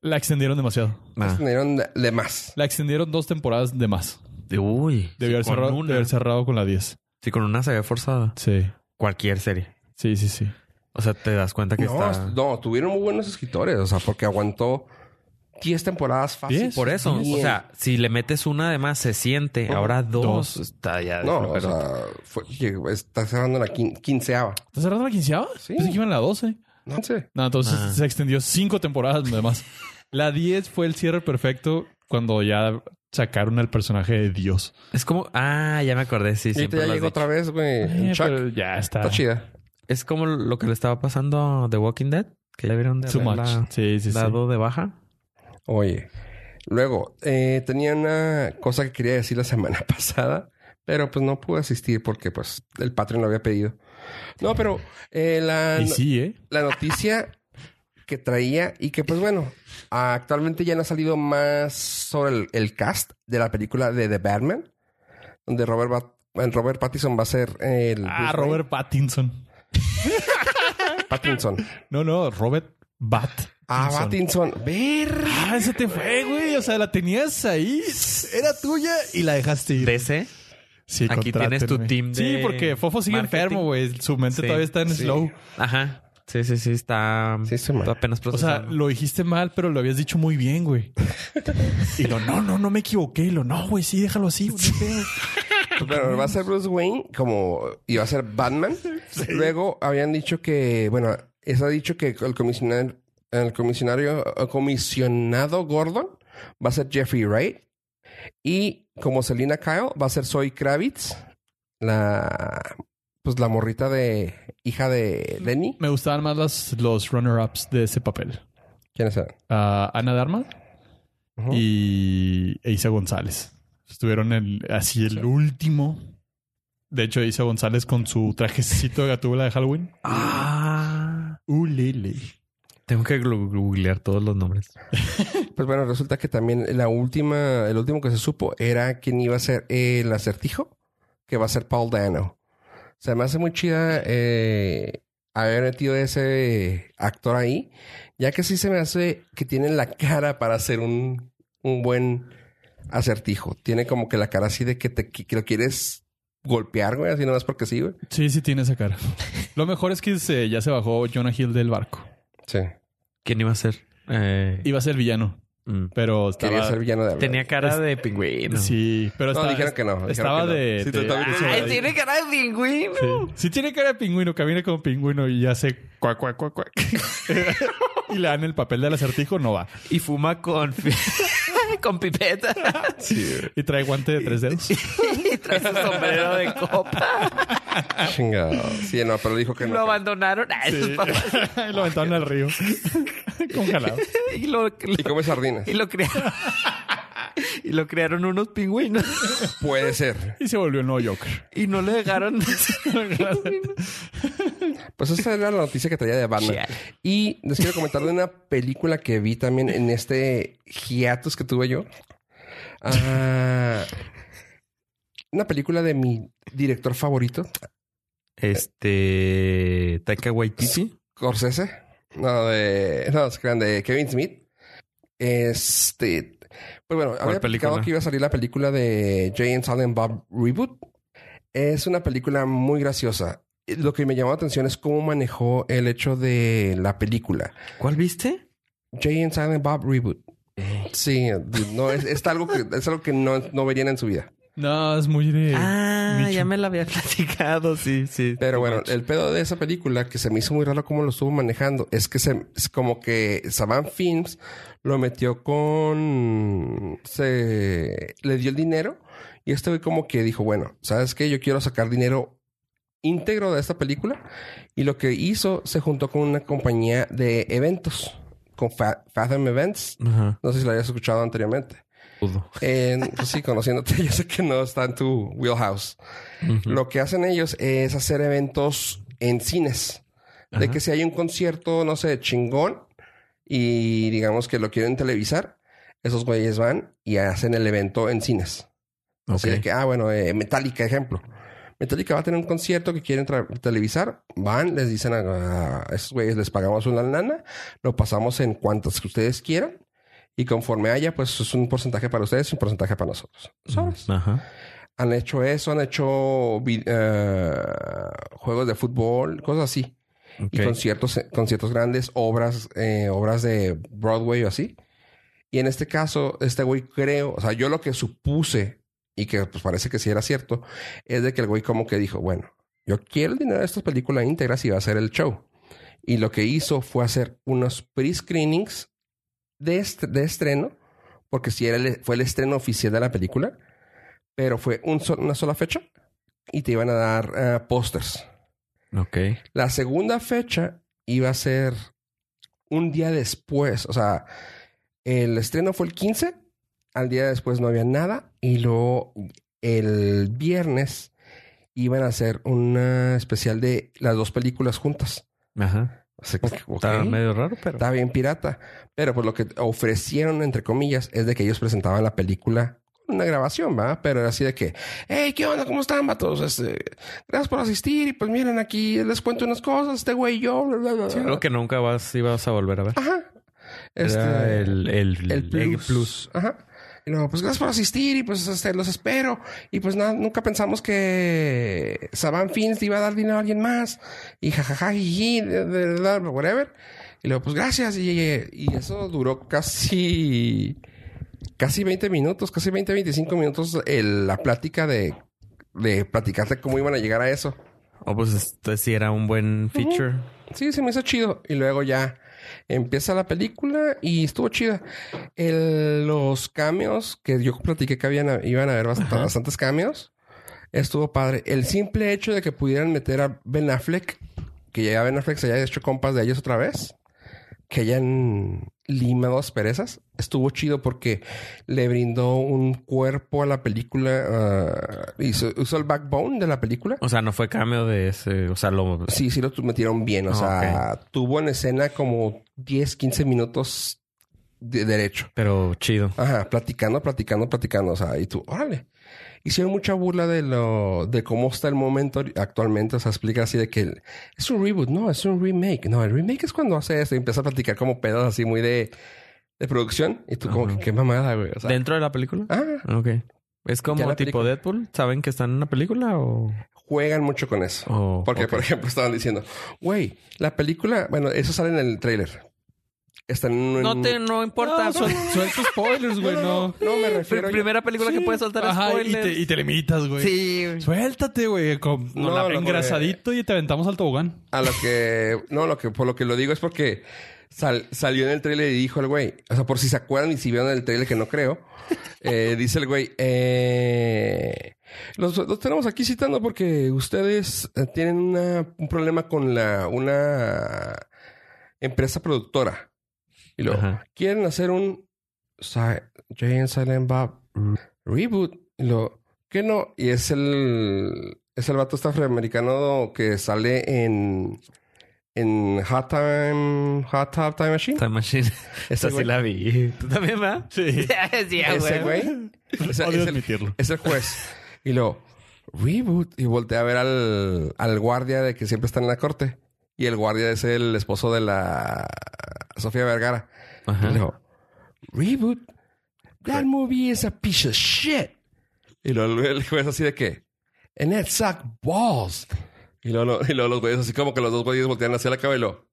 Speaker 2: La extendieron demasiado.
Speaker 3: Ah.
Speaker 1: Tenieron de, de más.
Speaker 2: La extendieron dos temporadas de más.
Speaker 3: Uy.
Speaker 2: Debió haber,
Speaker 3: con
Speaker 2: cerrado,
Speaker 3: una.
Speaker 2: debió haber cerrado con la 10.
Speaker 3: Sí, con una se ve forzada.
Speaker 2: Sí.
Speaker 3: Cualquier serie.
Speaker 2: Sí, sí, sí.
Speaker 3: O sea, te das cuenta que
Speaker 1: No,
Speaker 3: está...
Speaker 1: no, tuvieron muy buenos escritores, o sea, porque aguantó 10 temporadas fácil.
Speaker 2: ¿Diez?
Speaker 3: Por eso, o sea, si le metes una además se siente.
Speaker 1: Ujú.
Speaker 3: Ahora dos,
Speaker 2: Oh, Dos.
Speaker 3: está ya...
Speaker 1: No, o
Speaker 3: pero-
Speaker 1: sea, fue- llegó- está cerrando la quin- quinceava.
Speaker 2: ¿Está cerrando la quinceava?
Speaker 1: Sí.
Speaker 2: Pensé que iban la 12.
Speaker 1: No sé.
Speaker 2: No, entonces
Speaker 3: Ah.
Speaker 2: se extendió cinco temporadas de más. La 10 fue el cierre perfecto cuando ya sacaron al personaje de Dios.
Speaker 3: Es como... Ah, ya me acordé, sí.
Speaker 1: Y ahorita
Speaker 3: siempre
Speaker 1: ya
Speaker 3: lo has
Speaker 1: llegó
Speaker 3: dicho.
Speaker 1: otra vez, güey. en
Speaker 2: Eh,
Speaker 1: Chuck.
Speaker 2: pero ya está.
Speaker 1: Está chida.
Speaker 3: Es como lo que le estaba pasando a The Walking Dead. Que ya vieron de
Speaker 2: Too much.
Speaker 3: haberla
Speaker 2: Sí, sí, sí.
Speaker 3: dado de baja.
Speaker 1: Oye. Luego, eh, tenía una cosa que quería decir la semana pasada, pero pues no pude asistir porque pues el Patreon lo había pedido. No, pero eh, la...
Speaker 2: Y sí, ¿eh?
Speaker 1: la noticia que traía y que, pues bueno, actualmente ya no ha salido más sobre el, el cast de la película de The Batman, donde Robert, Bat- Robert Pattinson va a ser el...
Speaker 2: Ah,
Speaker 1: Bruce
Speaker 2: Robert Pattinson.
Speaker 1: Wayne. Pattinson.
Speaker 2: No, no, Robert Bat.
Speaker 1: Ah, Pattinson. Ver.
Speaker 2: Ah, ese te fue, güey. O sea, la tenías ahí. Era tuya y la dejaste ir.
Speaker 3: DC.
Speaker 2: Sí,
Speaker 3: Aquí tienes tu
Speaker 2: contrátenme.
Speaker 3: team de
Speaker 2: Sí, porque Fofo sigue
Speaker 3: marketing.
Speaker 2: enfermo, güey. Su mente
Speaker 3: Sí,
Speaker 2: todavía está en
Speaker 1: sí.
Speaker 2: slow.
Speaker 3: Ajá. Sí, sí, sí, está
Speaker 1: Sí, se me...
Speaker 3: está apenas
Speaker 2: O sea,
Speaker 3: procesando.
Speaker 2: lo dijiste mal, pero lo habías dicho muy bien, güey. Y lo, no, no, no me equivoqué. Y lo, no, güey, sí, déjalo así. güey, no hay pedo".
Speaker 1: Pero Pues va a ser Bruce Wayne como iba a ser Batman. Luego habían dicho que, bueno, eso ha dicho que el comisionar- el comisionario, el comisionado Gordon va a ser Jeffrey Wright. Y como Selina Kyle va a ser Zoe Kravitz, la pues la morrita de hija de Lenny.
Speaker 2: Me gustaban más las- los runner-ups de ese papel.
Speaker 1: ¿Quiénes eran?
Speaker 2: Ah, Ana Darma
Speaker 1: Ujú.
Speaker 2: y e Isa González. Estuvieron el, así el último. De hecho, Isa González con su trajecito de gatúbela de Halloween.
Speaker 3: Ah,
Speaker 2: Ulele.
Speaker 3: tengo que glu- googlear todos los nombres.
Speaker 1: Pues bueno, resulta que también la última, el último que se supo era quién iba a ser el acertijo, que va a ser Paul Dano. Se me hace muy chida eh, haber metido ese actor ahí, ya que sí se me hace que tiene la cara para hacer un, un buen acertijo. Tiene como que la cara así de que, te, qui- que lo quieres golpear, güey, así nomás porque sí, güey.
Speaker 2: Sí, sí tiene esa cara. Lo mejor es que se- ya se bajó Jonah Hill del barco.
Speaker 1: Sí.
Speaker 3: ¿Quién iba a ser? Eh,
Speaker 2: Iba a ser villano,
Speaker 3: mm.
Speaker 2: pero estaba...
Speaker 1: Quería ser villano de verdad.
Speaker 3: Tenía cara de pingüino.
Speaker 2: Sí, pero
Speaker 1: No,
Speaker 2: estaba-
Speaker 1: dijeron que no. dijeron
Speaker 2: estaba
Speaker 1: que no.
Speaker 2: de-
Speaker 1: Sí,
Speaker 2: de-
Speaker 1: totalmente
Speaker 2: Ay,
Speaker 1: sobre-
Speaker 2: tiene
Speaker 3: cara de pingüino.
Speaker 2: Sí. Sí tiene cara de pingüino, camina como pingüino y hace cuac, cuac, cuac, cuac. y le dan el papel del acertijo, no va.
Speaker 3: Y fuma con, con pipeta.
Speaker 2: Y trae guante de tres dedos.
Speaker 3: y trae su sombrero de copa.
Speaker 2: Ah,
Speaker 1: Chingado. Sí, no, pero dijo que no.
Speaker 3: Lo abandonaron. Ah, eso es para-
Speaker 2: y lo aventaron al río. Congelado.
Speaker 3: y, lo,
Speaker 1: Y come sardinas.
Speaker 3: y lo criaron. y lo criaron unos pingüinos.
Speaker 1: Puede ser.
Speaker 2: Y se volvió el nuevo Joker.
Speaker 3: Y no le dejaron.
Speaker 1: Pues esa era la noticia que traía de Batman.
Speaker 3: Chale.
Speaker 1: Y les quiero comentar de una película que vi también en este hiatus que tuve yo. Ah, una película de mi director favorito,
Speaker 3: este. Taika Waititi.
Speaker 1: Corsese. No, de, no, se crean, de Kevin Smith. Este, pues bueno, había platicado
Speaker 3: película?
Speaker 1: que iba a salir la película de Jay and Silent Bob Reboot. Es una película muy graciosa. Lo que me llamó la atención es cómo manejó el hecho de la película.
Speaker 3: ¿Cuál viste?
Speaker 1: Jay and Silent Bob reboot. Sí, no es, es algo que es algo que no, no verían en su vida.
Speaker 2: No, es muy de.
Speaker 3: ah,
Speaker 2: Micho.
Speaker 3: ya me la había platicado. Sí, sí.
Speaker 1: Pero bueno, el pedo de esa película que se me hizo muy raro cómo lo estuvo manejando es que se es como que Saban Films lo metió con se le dio el dinero y este güey como que dijo, bueno, ¿sabes qué? Yo quiero sacar dinero íntegro de esta película y lo que hizo se juntó con una compañía de eventos, con Fa- Fathom Events.
Speaker 3: Ajá.
Speaker 1: No sé si lo habías escuchado anteriormente. En- pues sí, conociéndote, yo sé que no está en tu wheelhouse. Lo que hacen ellos es hacer eventos en cines. De
Speaker 3: Ajá.
Speaker 1: que si hay un concierto, no sé, chingón, y digamos que lo quieren televisar, esos güeyes van y hacen el evento en cines. Así de
Speaker 3: Ok.
Speaker 1: que, ah, bueno, eh, Metallica, ejemplo. Metallica va a tener un concierto que quieren tra- televisar. Van, les dicen a, a esos güeyes, les pagamos una lana, lo pasamos en cuantas que ustedes quieran. Y conforme haya, pues es un porcentaje para ustedes y un porcentaje para nosotros. ¿Sabes?
Speaker 3: Ajá.
Speaker 1: Han hecho eso, han hecho vi- eh, juegos de fútbol, cosas así.
Speaker 3: Ok.
Speaker 1: Y conciertos, conciertos grandes, obras, eh, obras de Broadway o así. Y en este caso, este güey creo, o sea, yo lo que supuse y que pues parece que sí era cierto, es de que el güey como que dijo, bueno, yo quiero el dinero de estas películas íntegras y va a hacer el show. Y lo que hizo fue hacer unos pre-screenings de, est- de estreno, porque si era el- fue el estreno oficial de la película, pero fue un sol- una sola fecha y te iban a dar eh, pósters.
Speaker 3: Ok.
Speaker 1: La segunda fecha iba a ser un día después. O sea, el estreno fue el 15. Al día después no había nada. Y luego el viernes iban a hacer una especial de las dos películas juntas.
Speaker 3: Ajá.
Speaker 1: O sea, que- ok,
Speaker 3: Está medio raro, pero.
Speaker 1: Está bien pirata. Pero pues lo que ofrecieron, entre comillas, es de que ellos presentaban la película con una grabación, ¿va? Pero era así de que, hey, ¿qué onda? ¿Cómo están, vatos? Este, gracias por asistir. Y pues miren, aquí les cuento unas cosas, este güey y yo, bla, bla, bla.
Speaker 3: Sí, algo que nunca vas, ibas a volver a ver.
Speaker 1: Ajá.
Speaker 3: Era
Speaker 1: Este,
Speaker 3: el, el,
Speaker 1: el plus. Ajá. Y luego, pues gracias por asistir y pues este, los espero. Y pues nada, nunca pensamos que Saban Fins le iba a dar dinero a alguien más. Y jajaja, jiji, de- de- de- whatever. Y luego, pues gracias. Y, y eso duró casi, casi 20 minutos, casi 20, 25 minutos el- la plática de, de platicarte cómo iban a llegar a eso.
Speaker 3: O pues este sí era un buen feature.
Speaker 1: Sí, se me hizo chido. Y luego ya empieza la película y estuvo chida. El- los cambios que yo platiqué que habían, iban a haber bast- bastantes cambios. Estuvo padre. El simple hecho de que pudieran meter a Ben Affleck, que ya Ben Affleck se haya hecho compas de ellos otra vez, que hayan limado asperezas, estuvo chido porque le brindó un cuerpo a la película. ah, hizo- usó el backbone de la película.
Speaker 3: O sea, no fue cambio de ese. O sea, lo.
Speaker 1: Sí, sí lo tu- metieron bien. O
Speaker 3: Ah,
Speaker 1: sea, tuvo en escena como 10, 15 minutos de derecho.
Speaker 3: Pero chido.
Speaker 1: Ajá, platicando, platicando, platicando. O sea, y tú, órale. Hicieron mucha burla de lo, de cómo está el momento ahori- actualmente. O sea, explica así de que el- es un reboot, no, es un remake. No, el remake es cuando hace esto y empieza a platicar como pedos así muy de, de producción. Y tú, como
Speaker 3: Ajá.
Speaker 1: que qué mamada, güey. O sea,
Speaker 3: ¿Dentro de la película?
Speaker 1: ah,
Speaker 3: Ok. ¿Es como
Speaker 1: Ya la
Speaker 3: tipo Deadpool? ¿Saben que están en una película o...?
Speaker 1: juegan mucho con eso.
Speaker 3: o-
Speaker 1: Porque,
Speaker 3: ok.
Speaker 1: por ejemplo, estaban diciendo, güey, la película, bueno, eso sale en el tráiler. Está en un...
Speaker 3: No te... No importa.
Speaker 2: No,
Speaker 3: suel-
Speaker 2: suel- suelto spoilers, güey, no.
Speaker 1: No, me
Speaker 3: fue
Speaker 1: refiero...
Speaker 3: la primera película que
Speaker 2: Sí.
Speaker 3: puedes soltar
Speaker 2: Ajá, y
Speaker 3: spoilers.
Speaker 2: te, y te limitas, güey.
Speaker 3: Sí. güey.
Speaker 2: Suéltate, güey. Con
Speaker 1: No,
Speaker 2: la-
Speaker 1: lo que-
Speaker 2: engrasadito y te aventamos al tobogán.
Speaker 1: A lo que... No, lo que, por lo que lo digo es porque sal- salió en el tráiler y dijo el güey, o sea, por si se acuerdan y si vieron el tráiler que no creo, eh, dice el güey, eh, los, los tenemos aquí citando porque ustedes eh, tienen una- un problema con la una empresa productora. Y luego,
Speaker 3: Ajá.
Speaker 1: quieren hacer un Jane and Silent Bob reboot. Y lo que no, y es el es el vato este afroamericano que sale en en Hot Time Hot Tub Time Machine.
Speaker 3: Time Machine.
Speaker 1: Ese
Speaker 3: Esa sí
Speaker 1: güey.
Speaker 3: la vi. ¿Tú también, verdad?
Speaker 2: Sí.
Speaker 3: sí,
Speaker 1: Ese güey o sea,
Speaker 2: Odio
Speaker 1: es, el,
Speaker 2: admitirlo.
Speaker 1: es el juez. Y lo reboot y voltea a ver al al guardia de que siempre está en la corte y el guardia es el esposo de la Sofía Vergara.
Speaker 3: Ajá.
Speaker 1: Y luego, reboot. That movie is a piece of shit. Y luego el- el juez así de que, and it suck balls. Y luego, lo- y luego los güeyes así como que los dos güeyes voltean hacia la cabeza y lo...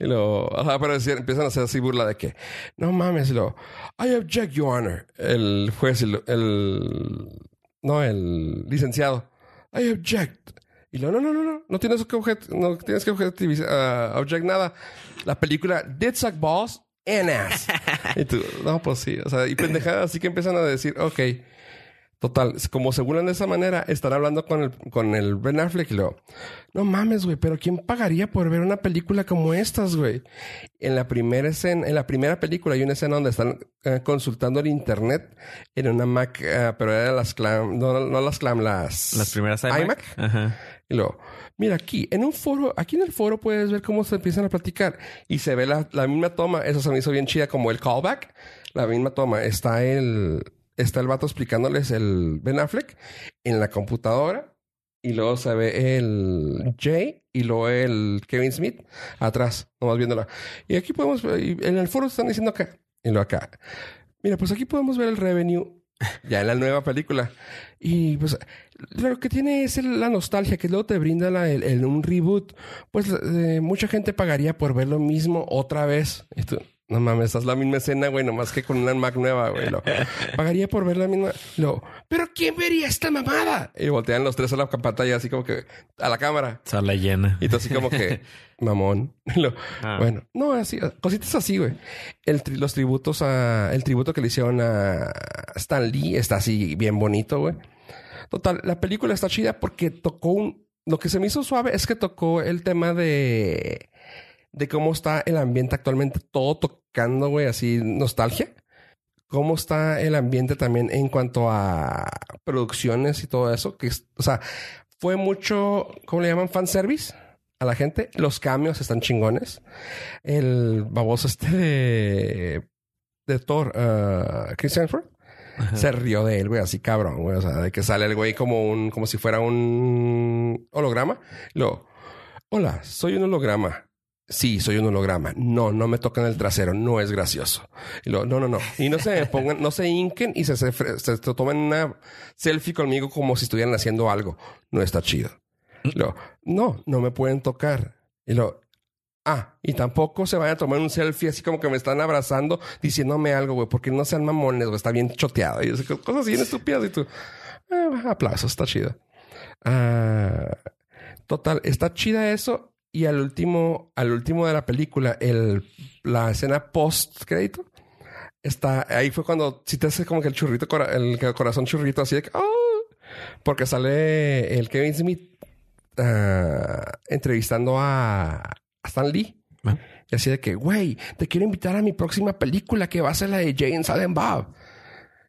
Speaker 1: Y lo... Ajá, pero decían- empiezan a hacer así burla de que, no mames, y lo... I object, your honor. El juez, y lo- el... No, el licenciado. I object. Y lo, no, no, no, no. No tienes que, objet, no tienes que objetivizar, ah, object nada. La película did suck balls and ass. y tú, no, pues sí. O sea, y pendejadas así que empiezan a decir, ok. Total, como se burlan de esa manera, estará hablando con el, con el Ben Affleck y luego, no mames, güey, pero ¿quién pagaría por ver una película como estas, güey? En la primera escena, en la primera película hay una escena donde están eh, consultando el internet en una Mac, eh, pero era las clam, no, no las clam, las...
Speaker 3: Las primeras
Speaker 1: iMac.
Speaker 3: iMac. Ajá.
Speaker 1: Y luego, mira aquí, en un foro, aquí en el foro puedes ver cómo se empiezan a platicar y se ve la, la misma toma. Eso se me hizo bien chida, como el callback. La misma toma. Está el, está el vato explicándoles el Ben Affleck en la computadora y luego se ve el Jay y luego el Kevin Smith atrás, nomás viéndola. Y aquí podemos ver, y en el foro están diciendo acá y lo acá. Mira, pues aquí podemos ver el revenue ya en la nueva película. Y pues lo que tiene es el- la nostalgia que luego te brinda la- el, el- un reboot. Pues eh, mucha gente pagaría por ver lo mismo otra vez. Y tú, no mames, estás la misma escena, güey, nomás que con una Mac nueva, güey. lo- pagaría por ver la misma. Lo, Pero ¿quién vería esta mamada? Y voltean los tres a la pantalla, así como que a la cámara.
Speaker 3: Sala llena.
Speaker 1: Y tú así como que, mamón. Lo-
Speaker 3: Ah.
Speaker 1: Bueno, no, así, cositas así, güey. El tri- los tributos a, el tributo que le hicieron a Stan Lee está así bien bonito, güey. Total, la película está chida porque tocó un, lo que se me hizo suave es que tocó el tema de, de cómo está el ambiente actualmente, todo tocando, güey, así nostalgia. Cómo está el ambiente también en cuanto a producciones y todo eso, que es- o sea, fue mucho, ¿cómo le llaman? Fanservice a la gente. Los cambios están chingones. El baboso este de, de Thor, uh, Chris Hemsworth,
Speaker 3: Ajá.
Speaker 1: se rió de él, güey, así cabrón, güey. O sea, de que sale el güey como un, como si fuera un holograma. Lo, hola, soy un holograma. sí, soy un holograma. No, no me tocan el trasero, no es gracioso. Y luego, no, no, no. Y no se pongan, no se hinquen y se, se, se tomen una selfie conmigo como si estuvieran haciendo algo. No está chido. Y luego, no, no me pueden tocar. Y luego, ah, y tampoco se vayan a tomar un selfie así como que me están abrazando diciéndome algo, güey, porque no sean mamones, güey, está bien choteado. Y esas cosas bien estúpidas y tú, eh, aplausos, está chido. Ah, total, está chida eso. Y al último, al último de la película, el, la escena post crédito, está ahí fue cuando si te hace como que el churrito, cora- el corazón churrito, así de que, "Oh", porque sale el Kevin Smith ah, entrevistando a, a Stan Lee.
Speaker 3: Ah.
Speaker 1: Y así de que, güey, te quiero invitar a mi próxima película que va a ser la de Jane Silent Bob.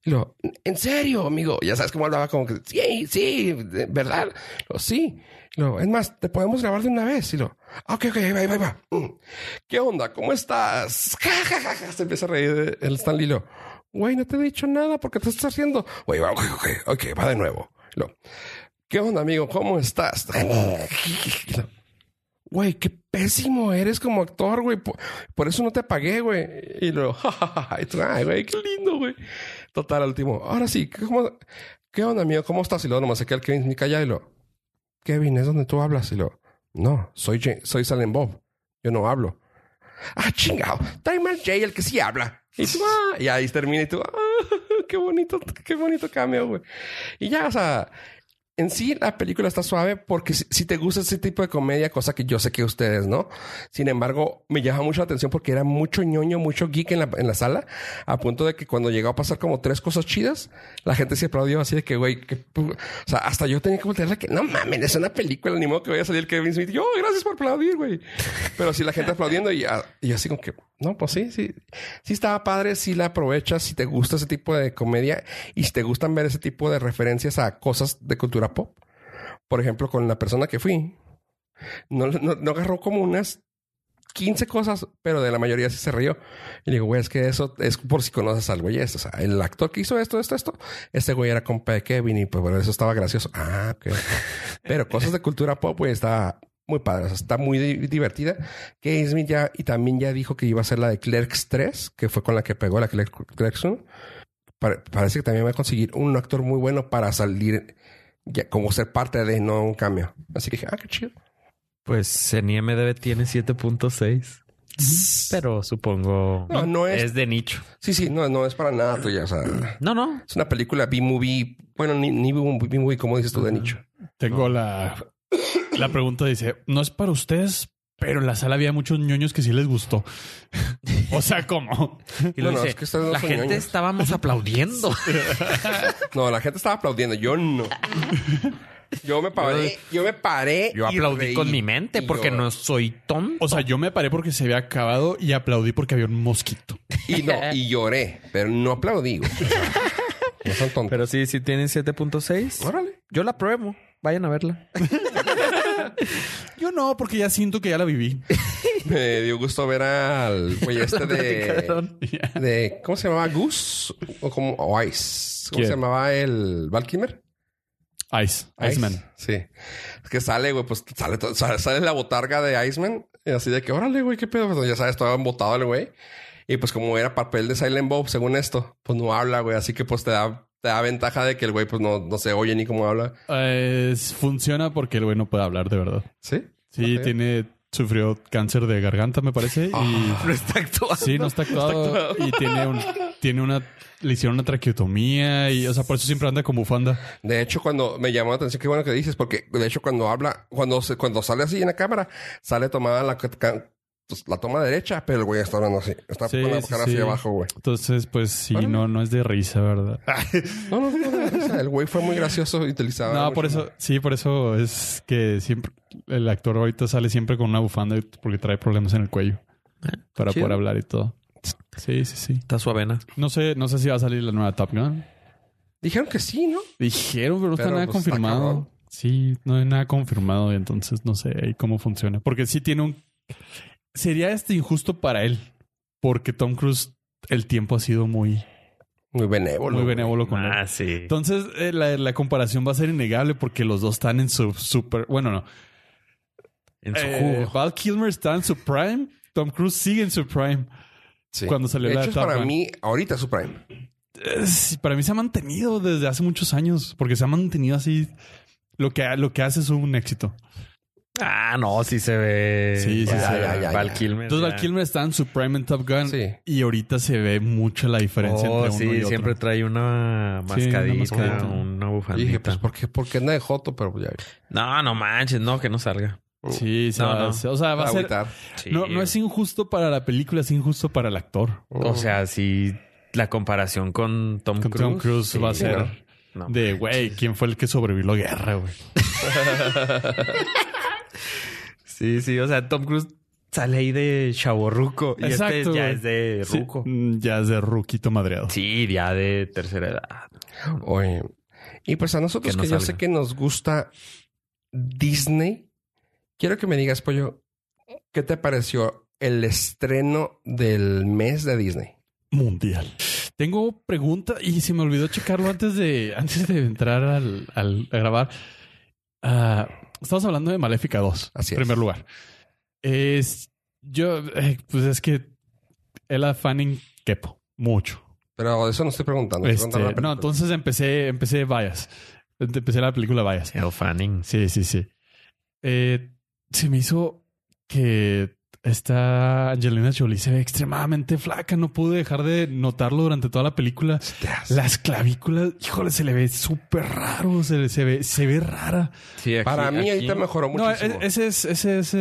Speaker 1: Y lo, en serio, amigo. Ya sabes cómo hablaba, como que sí, sí, de verdad. Lo, sí. Y lo, es más, te podemos grabar de una vez. Y lo, "Ah, ok, ok, ahí va, ahí va, ahí va. Mm. ¿Qué onda? ¿Cómo estás? Ja, ja, ja, ja. Se empieza a reír el Stanley. Lo, güey, no te he dicho nada porque te estás haciendo. Güey, va, ok, ok, ok, va de nuevo. Y Lo, ¿qué onda, amigo? ¿Cómo estás? Y lo, Güey, qué pésimo eres como actor, güey. Por, por eso no te pagué, güey. Y luego, ja, ja, ja, ja. Y tú, ay, güey, qué lindo, güey. Total, al último. Ahora sí, ¿qué- ¿cómo, ¿qué onda, amigo? ¿Cómo estás? Y luego nomás se queda el Kevin Smith callado y lo, Kevin, es donde tú hablas. Y lo, no, soy, Ja- soy Silent Bob. Yo no hablo. Ah, chingado. Tráeme al Jay, el que sí habla. Y tú, ah, y ahí termina y tú, ah, qué bonito, qué bonito cambio, güey. Y ya, o sea, en sí la película está suave porque si, si te gusta ese tipo de comedia, cosa que yo sé que ustedes, ¿no? Sin embargo, me llama mucho la atención porque era mucho ñoño, mucho geek en la, en la sala, a punto de que cuando llegó a pasar como tres cosas chidas, la gente se aplaudió así de que, güey, que pu- o sea, hasta yo tenía que voltearla que no mames, es una película, ni modo que vaya a salir Kevin Smith. Yo, gracias por aplaudir, güey. Pero sí, la gente aplaudiendo y, ah, y así como que, no, pues sí, sí, sí estaba padre, si la aprovechas, si te gusta ese tipo de comedia y si te gustan ver ese tipo de referencias a cosas de cultura pop. Por ejemplo, con la persona que fui, no, no, no agarró como unas 15 cosas, pero de la mayoría sí se rió. Y le digo, güey, es que eso es por si conoces al güey. este. O sea, el actor que hizo esto, esto, esto, este güey era compa de Kevin y pues bueno, eso estaba gracioso. Ah, ok. pero cosas de cultura pop, güey, está muy padre. O sea, está muy di- divertida. Kevin Smith ya, y también ya dijo que iba a ser la de Clerks 3, que fue con la que pegó la Clerks Clerks 1. Pare- parece que también va a conseguir un actor muy bueno para salir ya como ser parte de no un cambio. Así que dije, ah, qué chido.
Speaker 3: Pues en IMDB tiene 7.6. Pero supongo
Speaker 1: No, no es-
Speaker 3: de nicho.
Speaker 1: Sí, sí, no, no es para nada tuya. O sea,
Speaker 3: No, no.
Speaker 1: es una película B-movie. Bueno, ni, ni B-movie, B-movie, como dices tú, de nicho.
Speaker 2: Tengo la, la pregunta, dice, no es para ustedes, pero en la sala había muchos ñoños que sí les gustó. o sea, ¿cómo?
Speaker 3: Y lo
Speaker 1: Bueno,
Speaker 3: dice,
Speaker 1: es que ustedes no
Speaker 3: la
Speaker 1: son
Speaker 3: gente
Speaker 1: ñoños".
Speaker 3: estábamos aplaudiendo.
Speaker 1: No, la gente estaba aplaudiendo. Yo no. Yo me paré. Yo me paré.
Speaker 3: Yo
Speaker 1: y
Speaker 3: aplaudí
Speaker 1: reí.
Speaker 3: con mi mente
Speaker 1: Y
Speaker 3: porque
Speaker 1: yo-
Speaker 3: no soy tonto.
Speaker 2: O sea, yo me paré porque se había acabado y aplaudí porque había un mosquito.
Speaker 1: Y, no, y lloré, pero no aplaudí. güey. O sea, no son tontos.
Speaker 3: Pero sí, sí tienen 7.6.
Speaker 1: Órale.
Speaker 3: Yo la pruebo. Vayan a verla.
Speaker 2: Yo no, porque ya siento que ya la viví.
Speaker 1: Me dio gusto ver al güey este de. de ¿cómo se llamaba? Goose o como o Ice. ¿Cómo
Speaker 2: ¿Quién?
Speaker 1: se llamaba el Valkymer?
Speaker 2: Ice, Iceman.
Speaker 1: Sí. Es que sale, güey, pues sale, to- sale, sale la botarga de Iceman y así de que, órale, güey, qué pedo. Pues, ya sabes, estaba embotado el güey. Y pues como era papel de Silent Bob, según esto, pues no habla, güey. Así que pues te da, te da ventaja de que el güey pues no, no se oye ni cómo habla.
Speaker 2: Es- funciona porque el güey no puede hablar de verdad.
Speaker 1: Sí.
Speaker 2: Sí,
Speaker 1: Ok.
Speaker 2: tiene, sufrió cáncer de garganta, me parece. Y
Speaker 3: No está actuando.
Speaker 2: Sí, Ah. no está actuado. Y tiene, un, tiene una. Le hicieron una traqueotomía y, o sea, por eso siempre anda con bufanda.
Speaker 1: De hecho, cuando me llamó la atención, qué bueno que dices, porque de hecho, cuando habla, cuando se, cuando sale así en la cámara, sale tomada la, ca- pues, la toma derecha, pero el güey está hablando así. Está
Speaker 2: Sí,
Speaker 1: con la
Speaker 2: sí,
Speaker 1: cara
Speaker 2: sí.
Speaker 1: hacia abajo, güey.
Speaker 2: Entonces, pues sí,
Speaker 1: Órale.
Speaker 2: no, no es de risa, ¿verdad?
Speaker 1: No, no, no, no, o sea, el güey fue muy gracioso y utilizaba.
Speaker 2: No,
Speaker 1: mucho-
Speaker 2: por eso, sí, por eso es que siempre el actor ahorita sale siempre con una bufanda porque trae problemas en el cuello para
Speaker 3: chido.
Speaker 2: poder hablar y todo. Sí, sí, sí.
Speaker 3: Está suavena.
Speaker 2: No sé, no sé si va a salir la nueva Top Gun.
Speaker 1: Dijeron que sí, ¿no?
Speaker 2: Dijeron, pero no está
Speaker 1: Pero,
Speaker 2: nada
Speaker 1: pues, está
Speaker 2: confirmado.
Speaker 1: cabrón.
Speaker 2: sí, no hay nada confirmado, entonces no sé ahí cómo funciona. Porque sí tiene un. Sería este injusto para él, porque Tom Cruise el tiempo ha sido muy,
Speaker 1: Muy benévolo.
Speaker 2: muy
Speaker 1: güey.
Speaker 2: benévolo con
Speaker 1: Ah,
Speaker 2: él.
Speaker 3: sí.
Speaker 2: Entonces eh, la, la comparación va a ser innegable porque los dos están en su super. Bueno, no.
Speaker 3: en su
Speaker 2: Eh,
Speaker 3: jugo.
Speaker 2: Val Kilmer está en su prime. Tom Cruise sigue en su prime.
Speaker 1: Sí.
Speaker 2: Cuando salió
Speaker 1: de
Speaker 2: la
Speaker 1: hecho, es
Speaker 2: etapa.
Speaker 1: para mí, ahorita es su prime.
Speaker 2: Eh, sí, para mí se ha mantenido desde hace muchos años. Porque se ha mantenido así. Lo que, lo que hace es un éxito.
Speaker 3: Ah, no, sí se ve.
Speaker 2: Sí, sí
Speaker 3: Ya,
Speaker 1: se ve.
Speaker 3: ya, ya,
Speaker 1: Val
Speaker 3: ya.
Speaker 1: Kilmer,
Speaker 2: Entonces Val Kilmer está en su prime en Top Gun.
Speaker 1: Sí.
Speaker 2: Y ahorita se ve mucho la diferencia
Speaker 3: Oh,
Speaker 2: entre uno y
Speaker 3: sí,
Speaker 2: otro.
Speaker 3: siempre trae una
Speaker 2: Sí, una
Speaker 3: mascadita, una,
Speaker 2: mascadita.
Speaker 1: Y
Speaker 3: bufandita.
Speaker 1: dije, pues, ¿por qué, ¿por qué anda de Joto? Pero ya.
Speaker 3: No, no manches, no, que no salga.
Speaker 2: Sí, se
Speaker 3: No,
Speaker 2: va-
Speaker 3: no.
Speaker 2: se- O sea, Ah, va a ser...
Speaker 1: agüitar.
Speaker 3: Sí.
Speaker 2: No, no es injusto para la película, es injusto para el actor.
Speaker 3: O sea, si la comparación con Tom
Speaker 2: Con
Speaker 3: Cruise.
Speaker 2: Tom Cruise va a
Speaker 3: sí,
Speaker 2: ser
Speaker 3: no, no.
Speaker 2: de, güey, ¿quién fue el que sobrevivió la guerra, güey?
Speaker 3: Sí, sí, o sea, Tom Cruise sale ahí de chaborruco y
Speaker 2: Exacto,
Speaker 3: este ya
Speaker 2: güey.
Speaker 3: es de ruco.
Speaker 2: Sí, mm, ya es de ruquito madreado.
Speaker 3: Sí, ya de tercera edad.
Speaker 1: Oye, y pues a nosotros
Speaker 3: Que
Speaker 1: que,
Speaker 3: no
Speaker 1: yo
Speaker 3: salga.
Speaker 1: sé que nos gusta Disney, quiero que me digas, Pollo, ¿qué te pareció el estreno del mes de Disney?
Speaker 2: Mundial. Tengo pregunta y se me olvidó checarlo antes de, antes de entrar al, al- a grabar. Ah, estamos hablando de Maléfica 2,
Speaker 1: Así es.
Speaker 2: en primer lugar. Es, yo, eh, pues es que Ella Fanning quepo mucho.
Speaker 1: Pero de eso no estoy preguntando. estoy
Speaker 2: Este,
Speaker 1: preguntando la
Speaker 2: no,
Speaker 1: película.
Speaker 2: entonces empecé, empecé Bias. Empecé la película Bias.
Speaker 3: El Fanning.
Speaker 2: Sí, sí, sí. Eh, se me hizo que esta Angelina Jolie se ve extremadamente flaca. No pude dejar de notarlo durante toda la película.
Speaker 1: Hostias.
Speaker 2: Las clavículas, híjole, se le ve súper raro. Se, le- se ve, se ve rara.
Speaker 1: Para mí ahorita mejoró
Speaker 2: No,
Speaker 1: muchísimo.
Speaker 2: e- ese es, ese es, eh,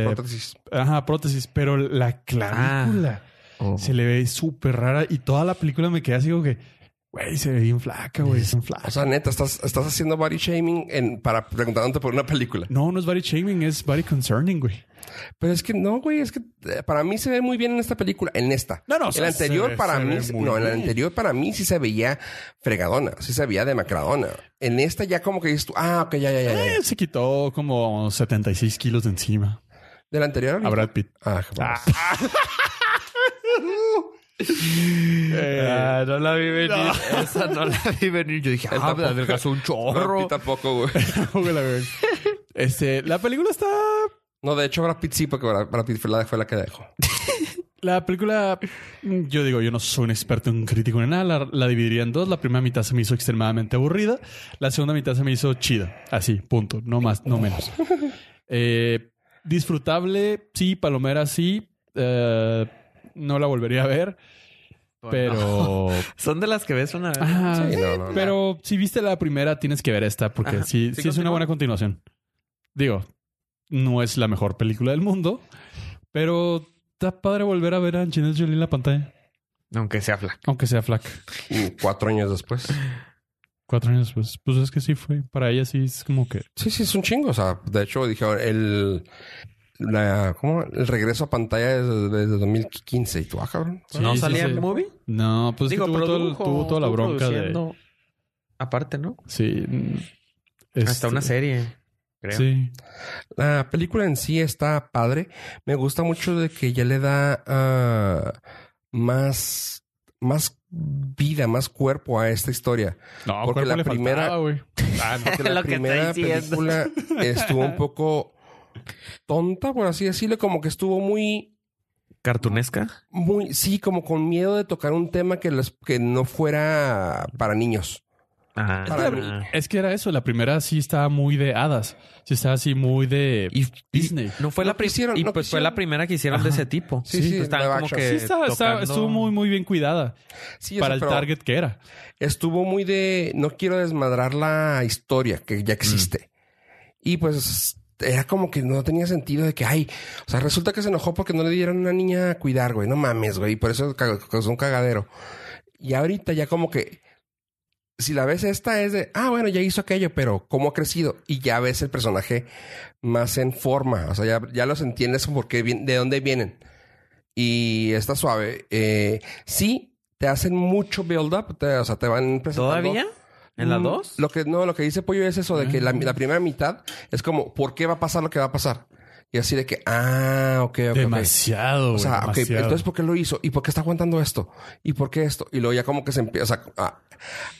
Speaker 1: Maquillaje, prótesis.
Speaker 2: ajá, prótesis, pero la clavícula
Speaker 3: Oh.
Speaker 2: se le ve súper rara. Y toda la película me quedé así como que, güey, se ve bien flaca, güey, bien flaca.
Speaker 1: O sea, neta, estás, estás haciendo body shaming en, para preguntándote por una película.
Speaker 2: No, no es body shaming, es body concerning, güey.
Speaker 1: Pero es que no, güey, es que eh, para mí se ve muy bien en esta película, en esta.
Speaker 2: No, no, o
Speaker 1: el
Speaker 2: sea,
Speaker 1: anterior
Speaker 2: se ve-
Speaker 1: para
Speaker 2: se
Speaker 1: mí,
Speaker 2: ve
Speaker 1: se-
Speaker 2: muy
Speaker 1: no, el
Speaker 2: bien.
Speaker 1: anterior para mí sí se veía fregadona, sí se veía demacradona. En esta ya como que dices tú, ah, ok, ya, ya, ya. ya.
Speaker 2: Eh, se quitó como 76 kilos de encima.
Speaker 1: Del anterior
Speaker 2: A Brad Pitt.
Speaker 1: Ah, jamás.
Speaker 2: Eh,
Speaker 3: no la vi venir. Esa no la vi venir. Yo dije,
Speaker 1: Él
Speaker 3: ah, me
Speaker 1: tampoco.
Speaker 3: adelgazó un
Speaker 1: Brad
Speaker 3: chorro.
Speaker 1: Pitt tampoco, güey.
Speaker 2: la verdad. este, la película está.
Speaker 1: No, de hecho, Brad Pitt sí, porque Brad Brad Pitt fue la, fue la que dejó.
Speaker 2: La película, mm, yo digo, yo no soy un experto en crítico ni nada. La, la dividiría en dos. La primera mitad se me hizo extremadamente aburrida. La segunda mitad se me hizo chida. Así, punto. No más, no menos. Eh, disfrutable, sí. Palomera, sí. Eh, no la volvería a ver, pero.
Speaker 3: Son de las que ves una vez.
Speaker 2: Ajá.
Speaker 1: Sí, no, no, no.
Speaker 2: Pero si viste la primera, tienes que ver esta, porque
Speaker 3: Ajá.
Speaker 2: sí, sí
Speaker 3: Sí,
Speaker 2: es una
Speaker 3: continúa.
Speaker 2: buena continuación. Digo, no es la mejor película del mundo, pero está padre volver a ver a Angelina Jolie en la pantalla,
Speaker 3: Aunque sea flaca.
Speaker 2: aunque sea flaca.
Speaker 1: Y cuatro años después.
Speaker 2: Cuatro años después. Pues es que sí fue. Para ella sí es como que.
Speaker 1: Sí, sí, es un chingo. O sea, de hecho, dije, el, la- ¿cómo? el regreso a pantalla desde, desde 2015. Y tú, ah, cabrón.
Speaker 2: Sí,
Speaker 3: ¿No
Speaker 2: sí,
Speaker 3: salía
Speaker 2: sí.
Speaker 3: en movie?
Speaker 2: No, pues es que tuvo, todo el- tuvo toda la
Speaker 3: estuvo
Speaker 2: bronca de.
Speaker 3: produciendo. Aparte, ¿no?
Speaker 2: Sí. mm, este,
Speaker 3: Hasta una serie. Creo.
Speaker 2: Sí.
Speaker 1: La película en sí está padre. Me gusta mucho de que ya le da ah, más, más vida, más cuerpo a esta historia.
Speaker 2: No,
Speaker 1: Porque
Speaker 2: cuerpo
Speaker 1: la
Speaker 2: le
Speaker 1: primera-
Speaker 2: faltaba, güey.
Speaker 1: Porque la
Speaker 3: Lo que
Speaker 1: primera
Speaker 3: estoy diciendo.
Speaker 1: película estuvo un poco tonta, por así decirlo, como que estuvo muy,
Speaker 3: ¿Cartunesca?
Speaker 1: muy, sí, como con miedo de tocar un tema que, les- que no fuera para niños.
Speaker 3: Ah.
Speaker 1: Para mí.
Speaker 2: Es que era eso. La primera sí estaba muy de hadas. Sí estaba así muy de
Speaker 3: Y-
Speaker 2: Disney.
Speaker 3: No fue
Speaker 1: No
Speaker 3: la pri-
Speaker 1: quisieron,
Speaker 3: y
Speaker 1: no
Speaker 3: pues fue
Speaker 1: quisieron.
Speaker 3: la primera que hicieron de
Speaker 2: Ajá.
Speaker 3: ese tipo.
Speaker 1: Sí, sí,
Speaker 3: Pues estaban
Speaker 1: live
Speaker 3: como
Speaker 1: action.
Speaker 3: que
Speaker 2: Sí, estaba- estaba-
Speaker 3: tocando-
Speaker 2: estuvo muy, muy bien cuidada
Speaker 1: Sí, yo sé,
Speaker 2: para el
Speaker 1: pero
Speaker 2: target que era.
Speaker 1: Estuvo muy de, no quiero desmadrar la historia que ya existe. Y pues era como que no tenía sentido de que, ay, o sea, resulta que se enojó porque no le dieron a una niña a cuidar, güey, no mames, güey, y por eso ca- causó un cagadero. Y ahorita ya como que, si la ves esta es de, ah, bueno, ya hizo aquello, pero ¿cómo ha crecido? Y ya ves el personaje más en forma, o sea, ya, ya los entiendes por qué, vien- de dónde vienen. Y está suave. Eh, sí, te hacen mucho build-up, te- o sea, te van presentando...
Speaker 3: ¿Todavía? ¿En la
Speaker 1: Mm,
Speaker 3: 2?
Speaker 1: Lo que no, lo que dice Pollo es eso de que la,
Speaker 2: Ah.
Speaker 1: la primera mitad es como, ¿por qué va a pasar lo que va a pasar? Y así de que, ah, ok, ok. ok.
Speaker 2: Demasiado.
Speaker 1: O sea, ok,
Speaker 2: güey, demasiado.
Speaker 1: entonces, ¿por qué lo hizo? ¿Y por qué está aguantando esto? ¿Y por qué esto? Y luego ya como que se empieza a,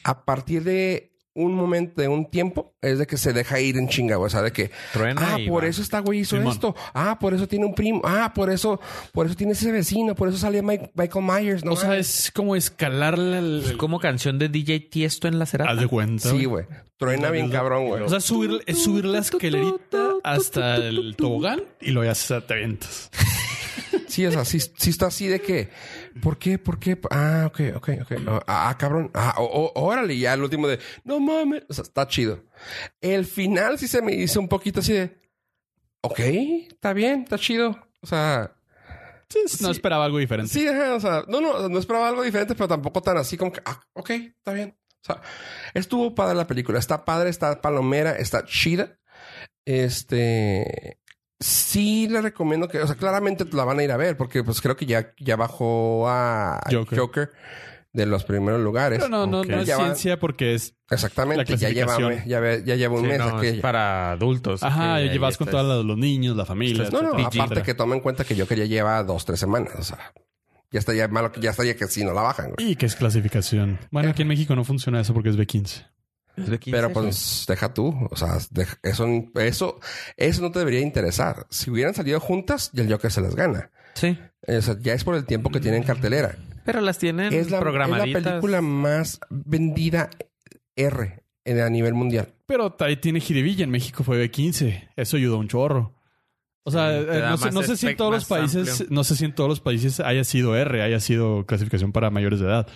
Speaker 1: a partir de un momento, de un tiempo, es de que se deja ir en chinga, güey. O sea, de que,
Speaker 3: Truena
Speaker 1: ah,
Speaker 3: y
Speaker 1: por
Speaker 3: va.
Speaker 1: eso esta güey hizo
Speaker 2: Simón.
Speaker 1: esto. Ah, por eso tiene un primo. Ah, por eso, por eso tiene ese vecino. Por eso salió Mike- Michael Myers, ¿no?
Speaker 2: o sea, es como escalar la- la-
Speaker 3: Es como canción de DJ Tiesto en la cerata.
Speaker 2: Pues, Haz de cuenta.
Speaker 1: sí,
Speaker 2: güey.
Speaker 1: güey. Truena bien cabrón, güey.
Speaker 2: O sea, subir, es subir la escalerita hasta el tobogán y lo ya se te avientas.
Speaker 1: Sí, o sea, sí, sí está así de que, ¿por qué? ¿Por qué? Ah, ok, ok, ok. Ah, ah, cabrón. Ah, o- o- órale, ya el último de, no mames. O sea, está chido. El final sí se me hizo un poquito así de, ok, está bien, está chido. O sea,
Speaker 2: No esperaba algo diferente.
Speaker 1: sí, ajá, o sea, no, no, no esperaba algo diferente, pero tampoco tan así como que, ah, ok, está bien. O sea, estuvo padre la película. Está padre, está palomera, está chida. Este. Sí, le recomiendo que, o sea, claramente la van a ir a ver, porque pues creo que ya, ya bajó a
Speaker 2: Joker.
Speaker 1: Joker, de los primeros lugares.
Speaker 2: Pero no, no, no
Speaker 3: Ok.
Speaker 2: es
Speaker 1: Ya va-
Speaker 2: ciencia porque es.
Speaker 1: Exactamente,
Speaker 2: La
Speaker 1: ya lleva,
Speaker 2: clasificación.
Speaker 1: ya, ve- ya lleva un
Speaker 3: Sí,
Speaker 1: mes.
Speaker 3: no,
Speaker 1: aquella.
Speaker 3: es para adultos.
Speaker 2: Ajá,
Speaker 3: que ahí
Speaker 2: llevas con
Speaker 3: estás-
Speaker 2: todos los niños, la familia.
Speaker 1: No, no,
Speaker 2: etcétera,
Speaker 1: aparte
Speaker 2: etcétera.
Speaker 1: que tomen en cuenta que Joker ya lleva dos, tres semanas. O sea, ya estaría malo, que- ya estaría que si no la bajan. güey.
Speaker 2: Y que es clasificación. Bueno, aquí en México no funciona eso porque es B15.
Speaker 1: Pero pues deja tú, o sea, deja- eso, eso, eso no te debería interesar. Si hubieran salido juntas, ya el Joker se las gana.
Speaker 3: Sí.
Speaker 1: O sea, ya es por el tiempo que tienen cartelera.
Speaker 3: Pero las tienen
Speaker 1: Es la, es la
Speaker 3: programaditas.
Speaker 1: película más vendida R en- a nivel mundial.
Speaker 2: Pero ahí tiene jiribilla. En México fue B15. Eso ayudó un chorro. O sea,
Speaker 3: Sí, te
Speaker 2: eh,
Speaker 3: da
Speaker 2: no, sé,
Speaker 3: más
Speaker 2: no sé si en
Speaker 3: espec-
Speaker 2: todos los
Speaker 3: más
Speaker 2: países,
Speaker 3: amplio.
Speaker 2: no sé si en todos los países haya sido R, haya sido clasificación para mayores de edad.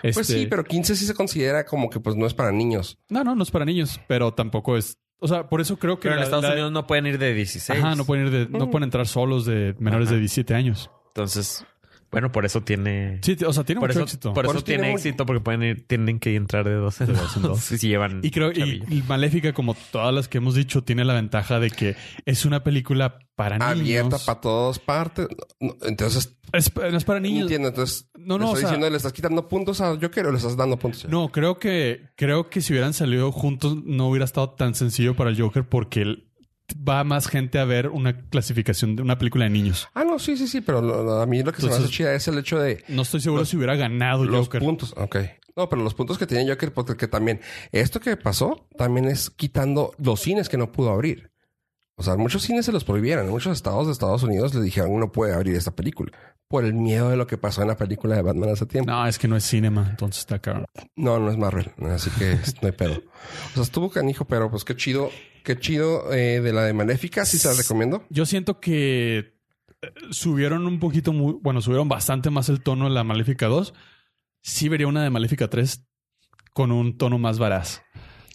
Speaker 1: Pues
Speaker 2: Este-
Speaker 1: sí, pero 15 sí se considera como que pues no es para niños.
Speaker 2: No, no, no es para niños, pero tampoco es. O sea, por eso creo que.
Speaker 3: Pero en
Speaker 2: la-
Speaker 3: Estados
Speaker 2: la-
Speaker 3: Unidos no pueden ir de 16.
Speaker 2: Ajá, no pueden, ir de- no pueden entrar solos de menores
Speaker 3: Ajá.
Speaker 2: de 17 años.
Speaker 3: Entonces, bueno, por eso tiene.
Speaker 2: Sí, o sea, tiene
Speaker 3: por
Speaker 2: mucho
Speaker 3: eso,
Speaker 2: éxito.
Speaker 3: Por
Speaker 1: Por
Speaker 3: eso
Speaker 1: eso tiene
Speaker 3: tiene
Speaker 1: mucho-
Speaker 3: éxito, porque pueden ir- tienen que entrar de 12 en
Speaker 2: De dos en
Speaker 3: 12.
Speaker 2: dos.
Speaker 3: Si llevan.
Speaker 2: Y creo y,
Speaker 3: chavillos.
Speaker 2: y Maléfica, como todas las que hemos dicho, tiene la ventaja de que es una película para
Speaker 1: Abierta
Speaker 2: niños.
Speaker 1: para todas partes. No, no, Entonces,
Speaker 2: Es, no es para niños.
Speaker 1: entiendo. Entonces,
Speaker 2: No,
Speaker 1: le
Speaker 2: no, o
Speaker 1: estoy
Speaker 2: sea-
Speaker 1: diciendo, le estás quitando puntos a Joker o le estás dando puntos.
Speaker 2: No, creo que creo que si hubieran salido juntos no hubiera estado tan sencillo para el Joker porque él- va más gente a ver una clasificación de una película de niños.
Speaker 1: Ah, no, sí, sí, sí, pero lo- lo- a mí lo que se me
Speaker 2: Entonces-
Speaker 1: hace chida es el hecho de
Speaker 2: No estoy seguro
Speaker 1: Los-
Speaker 2: si hubiera ganado
Speaker 1: Los
Speaker 2: Joker.
Speaker 1: puntos, ok. No, pero los puntos que tiene Joker, porque que también esto que pasó también es quitando los cines que no pudo abrir. O sea, muchos cines se los prohibieron. En muchos estados de Estados Unidos le dijeron no puede abrir esta película por el miedo de lo que pasó en la película de Batman hace tiempo.
Speaker 2: No, es que no es cinema, entonces está cabrón.
Speaker 1: No, no es Marvel, así que es- no hay pedo. O sea, estuvo canijo, pero pues qué chido, qué chido eh, de la de Maléfica. Sí, se la recomiendo.
Speaker 2: Yo siento que eh, subieron un poquito, muy, bueno, subieron bastante más el tono de la Maléfica 2. Sí vería una de Maléfica 3 con un tono más varaz.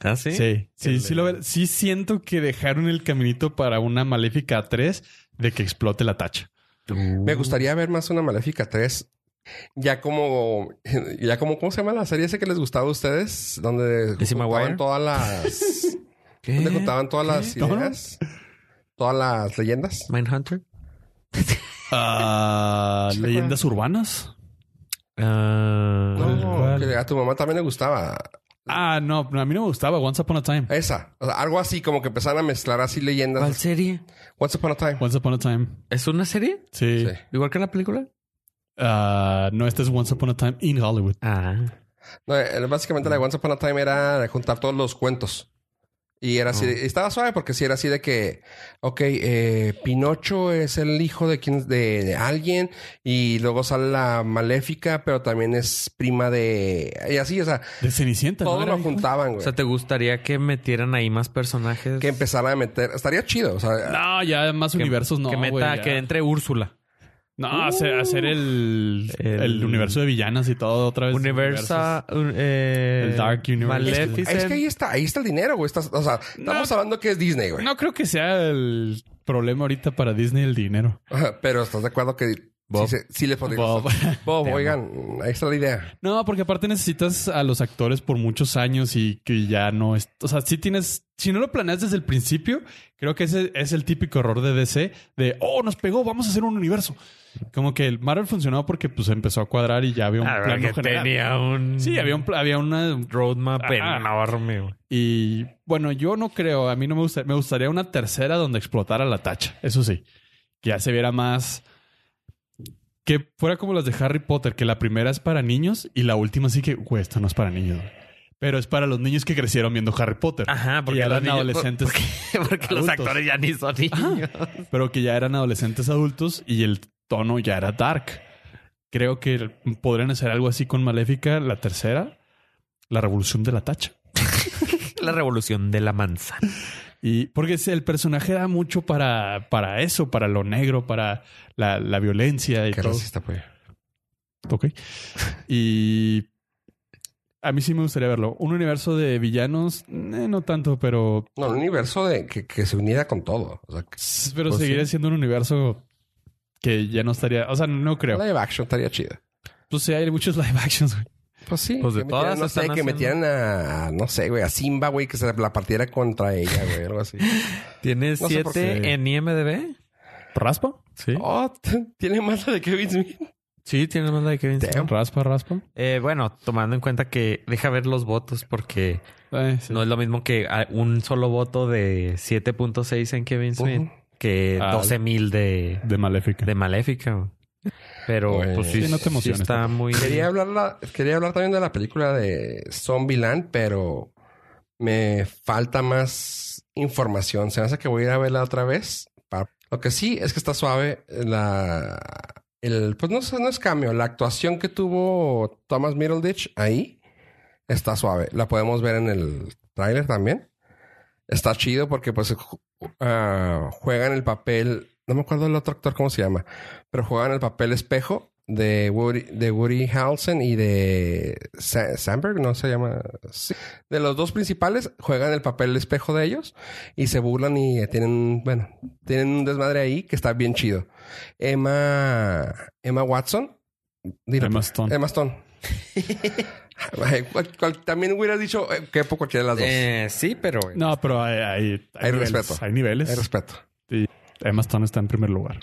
Speaker 3: ¿Ah, sí?
Speaker 2: Sí, sí, sí,
Speaker 3: Que le-
Speaker 2: lo ver- sí siento que dejaron el caminito para una Maléfica 3 de que explote la tacha.
Speaker 1: Me gustaría ver más una Maléfica 3. Ya como, ya como, ¿cómo se llama la serie esa que les gustaba a ustedes? Donde
Speaker 3: Lizzie Maguire. ¿Eh?
Speaker 1: juntaban todas las,
Speaker 3: ¿Qué?
Speaker 1: donde juntaban todas las
Speaker 2: ¿Qué? ¿No?
Speaker 1: ideas, todas las leyendas.
Speaker 3: Mindhunter.
Speaker 2: Ah, leyendas urbanas.
Speaker 3: Ah,
Speaker 1: No,
Speaker 2: ¿Cuál?
Speaker 1: que a tu mamá también le gustaba
Speaker 2: Ah, no, a mí no me gustaba Once Upon a Time.
Speaker 1: esa, O sea, algo así como que empezaban a mezclar así
Speaker 3: ¿Cuál
Speaker 1: leyendas.
Speaker 3: serie?
Speaker 1: Once upon a time.
Speaker 2: Once Upon a Time.
Speaker 3: ¿Es una serie?
Speaker 2: Sí.
Speaker 1: Sí.
Speaker 3: ¿Igual que la película?
Speaker 2: Ah, no, este es Once Upon a Time in Hollywood.
Speaker 3: Ah.
Speaker 1: No, eh, básicamente la de Once Upon a Time era juntar todos los cuentos. Y era así, de- estaba suave porque sí era así de que, ok, eh, Pinocho es el hijo de quien, de, de alguien, y luego sale la maléfica, pero también es prima de. Y así, o sea,
Speaker 2: De Cenicienta. ¿no?
Speaker 1: todos
Speaker 2: Era
Speaker 1: lo
Speaker 2: hijo.
Speaker 1: juntaban,
Speaker 3: O
Speaker 1: güey.
Speaker 3: sea, ¿te gustaría que metieran ahí más personajes?
Speaker 1: que empezaran a meter. Estaría chido, o sea,
Speaker 2: No, ya más
Speaker 3: que-
Speaker 2: universos no.
Speaker 3: que meta,
Speaker 2: güey, ya.
Speaker 3: que entre Úrsula.
Speaker 2: No,
Speaker 1: Uh.
Speaker 2: hacer, hacer el, el,
Speaker 3: El-
Speaker 2: universo de villanas y todo otra
Speaker 3: Pues,
Speaker 2: vez.
Speaker 3: Universa. un- eh,
Speaker 2: El Dark Universe.
Speaker 1: es
Speaker 3: Maleficent.
Speaker 1: que ahí está, ahí está el dinero, güey. Estás- o sea, estamos hablando que es Disney, güey.
Speaker 2: Universos. No creo que sea el problema ahorita para Disney el dinero.
Speaker 1: Pero estás de acuerdo que
Speaker 3: Bob.
Speaker 1: sí, se- sí les podría.
Speaker 2: Bob.
Speaker 1: Bob,
Speaker 3: Te amo.
Speaker 1: oigan, ahí está la idea.
Speaker 2: No, porque aparte necesitas a los actores por muchos años y que ya no es. O sea, si tienes. Si no lo planeas desde el principio, creo que ese es el típico error de DC de oh, nos pegó, vamos a hacer un universo. Como que el Marvel funcionó porque pues empezó a cuadrar y ya había un
Speaker 3: Ah,
Speaker 2: plano
Speaker 3: que
Speaker 2: general.
Speaker 3: tenía un.
Speaker 2: Sí, había, un, pla- había una.
Speaker 3: roadmap
Speaker 2: Ajá.
Speaker 3: enorme. güey.
Speaker 2: Y bueno, yo no creo. A mí no me gustaría. Me gustaría una tercera donde explotara la tacha. Eso sí. Que ya se viera más. Que fuera como las de Harry Potter, que la primera es para niños y la última sí que, güey, esta no es para niños. güey. Pero es para los niños que crecieron viendo Harry Potter.
Speaker 3: Ajá,
Speaker 2: porque ya
Speaker 3: los
Speaker 2: eran
Speaker 3: niños-
Speaker 2: adolescentes,
Speaker 3: Porque, porque los
Speaker 2: Adultos.
Speaker 3: actores ya ni son niños.
Speaker 2: pero que ya eran adolescentes adultos y el tono ya era dark. Creo que podrían hacer algo así con Maléfica, la tercera, la revolución de la tacha.
Speaker 3: La revolución de la manzana.
Speaker 2: Y porque ese- el personaje da mucho para, para eso, para lo negro, para la, la violencia y
Speaker 1: Qué
Speaker 2: todo.
Speaker 1: racista, pues.
Speaker 2: Ok. Y a mí sí me gustaría verlo. Un universo de villanos, eh, no tanto, pero,
Speaker 1: No, un universo de que, que se uniera con todo. O sea, que-
Speaker 2: pero
Speaker 1: Pues
Speaker 2: seguiría
Speaker 1: sí.
Speaker 2: siendo un universo que ya no estaría. O sea, no creo.
Speaker 1: live action estaría chido.
Speaker 2: Pues sí, hay muchos live actions. güey.
Speaker 1: Pues sí.
Speaker 3: Pues de
Speaker 1: que metieran,
Speaker 3: todas
Speaker 1: no sé,
Speaker 3: están
Speaker 1: que
Speaker 3: haciendo.
Speaker 1: metieran a, no sé, güey, a Simba, güey, que se la partiera contra ella, güey, algo así.
Speaker 3: Tiene
Speaker 1: No sé por
Speaker 3: siete
Speaker 1: qué.
Speaker 3: en IMDB.
Speaker 2: ¿Raspa?
Speaker 3: Sí.
Speaker 1: Oh, t- tiene más la de Kevin Smith.
Speaker 3: Sí, tiene más de Kevin.
Speaker 1: Damn.
Speaker 2: ¿Raspa, raspa?
Speaker 3: Eh, bueno, tomando en cuenta que deja ver los votos porque
Speaker 2: Eh, sí.
Speaker 3: no es lo mismo que ah, un solo voto de 7.6 en Kevin Smith
Speaker 1: Ujú.
Speaker 3: que
Speaker 2: Ah.
Speaker 3: 12.000 de,
Speaker 2: De Maléfica.
Speaker 3: de Maléfica. güey. Pero
Speaker 1: Bueno.
Speaker 3: pues sí,
Speaker 2: Sí, no te
Speaker 3: sí
Speaker 2: emociones
Speaker 3: está muy...
Speaker 1: Quería hablar, la- quería hablar también de la película de Zombieland, pero me falta más información. Se me hace que voy a ir a verla otra vez. Pa- Lo que sí es que está suave la... El, pues no, sé, no es cambio. La actuación que tuvo Thomas Middleditch ahí está suave. La podemos ver en el tráiler también. Está chido porque pues ju- ah, juegan el papel... No me acuerdo el otro actor cómo se llama pero jugaban el papel espejo de Woody, de Woody Harrelson y de Sa- Sandberg, no se llama. Sí. De los dos principales juegan el papel espejo de ellos y se burlan y tienen, bueno, tienen un desmadre ahí que está bien chido. Emma, Emma Watson, dilo,
Speaker 2: Emma Stone.
Speaker 1: Emma Stone. Ay, cual- cual- también hubieras dicho eh, que poco cualquiera de las dos.
Speaker 3: Eh, sí, pero...
Speaker 2: No, pero hay, hay, hay
Speaker 1: Hay
Speaker 2: niveles.
Speaker 1: respeto.
Speaker 2: Hay niveles.
Speaker 1: Hay respeto.
Speaker 2: Emma Stone está en primer lugar.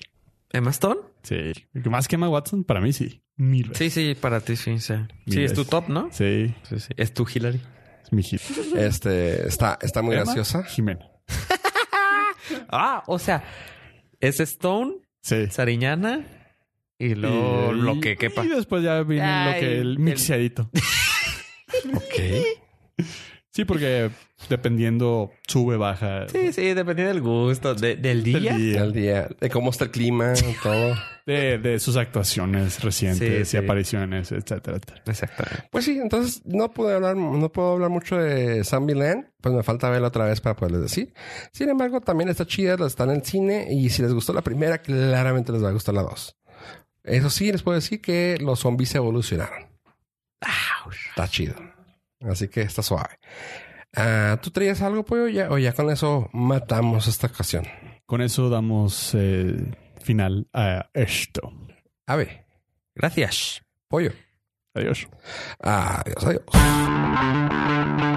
Speaker 3: ¿Emma Stone?
Speaker 2: Sí. Más que Emma Watson, para mí sí. Mil veces.
Speaker 3: Sí, sí, para ti sí. Sí, sí
Speaker 2: Mil
Speaker 3: es tu
Speaker 2: veces.
Speaker 3: top, ¿no?
Speaker 2: Sí.
Speaker 3: Sí, sí. Es tu Hillary.
Speaker 2: Es mi hit.
Speaker 1: Este está, está muy
Speaker 2: Emma
Speaker 1: graciosa.
Speaker 2: Jimena.
Speaker 3: Ah, o sea, es Stone,
Speaker 2: Sí.
Speaker 3: Sariñana y luego
Speaker 2: Y-
Speaker 3: lo que quepa.
Speaker 2: Y después ya viene lo
Speaker 3: Ay,
Speaker 2: que el
Speaker 3: el-
Speaker 2: mixeadito.
Speaker 1: Ok.
Speaker 2: Sí, porque dependiendo sube, baja.
Speaker 3: Sí, sí, depende del gusto, de-
Speaker 2: del
Speaker 3: del día.
Speaker 2: día,
Speaker 1: El día de cómo está el clima, todo.
Speaker 2: de, de sus actuaciones recientes
Speaker 3: Sí, sí.
Speaker 2: y apariciones, etcétera, etcétera.
Speaker 3: Exacto.
Speaker 1: Pues sí, entonces no pude hablar, no puedo hablar mucho de Zombieland, pues me falta verla otra vez para poderles decir. Sin embargo, también está chida, la están en el cine y si les gustó la primera, claramente les va a gustar la dos. Eso sí, les puedo decir que los zombies se evolucionaron. Está chido. Así que está suave. Ah, ¿Tú traías algo, pollo? Ya, o ya con eso matamos esta ocasión.
Speaker 2: Con eso damos eh, final a esto.
Speaker 1: Ave,
Speaker 3: Gracias.
Speaker 1: pollo.
Speaker 2: Adiós.
Speaker 1: Adiós, adiós.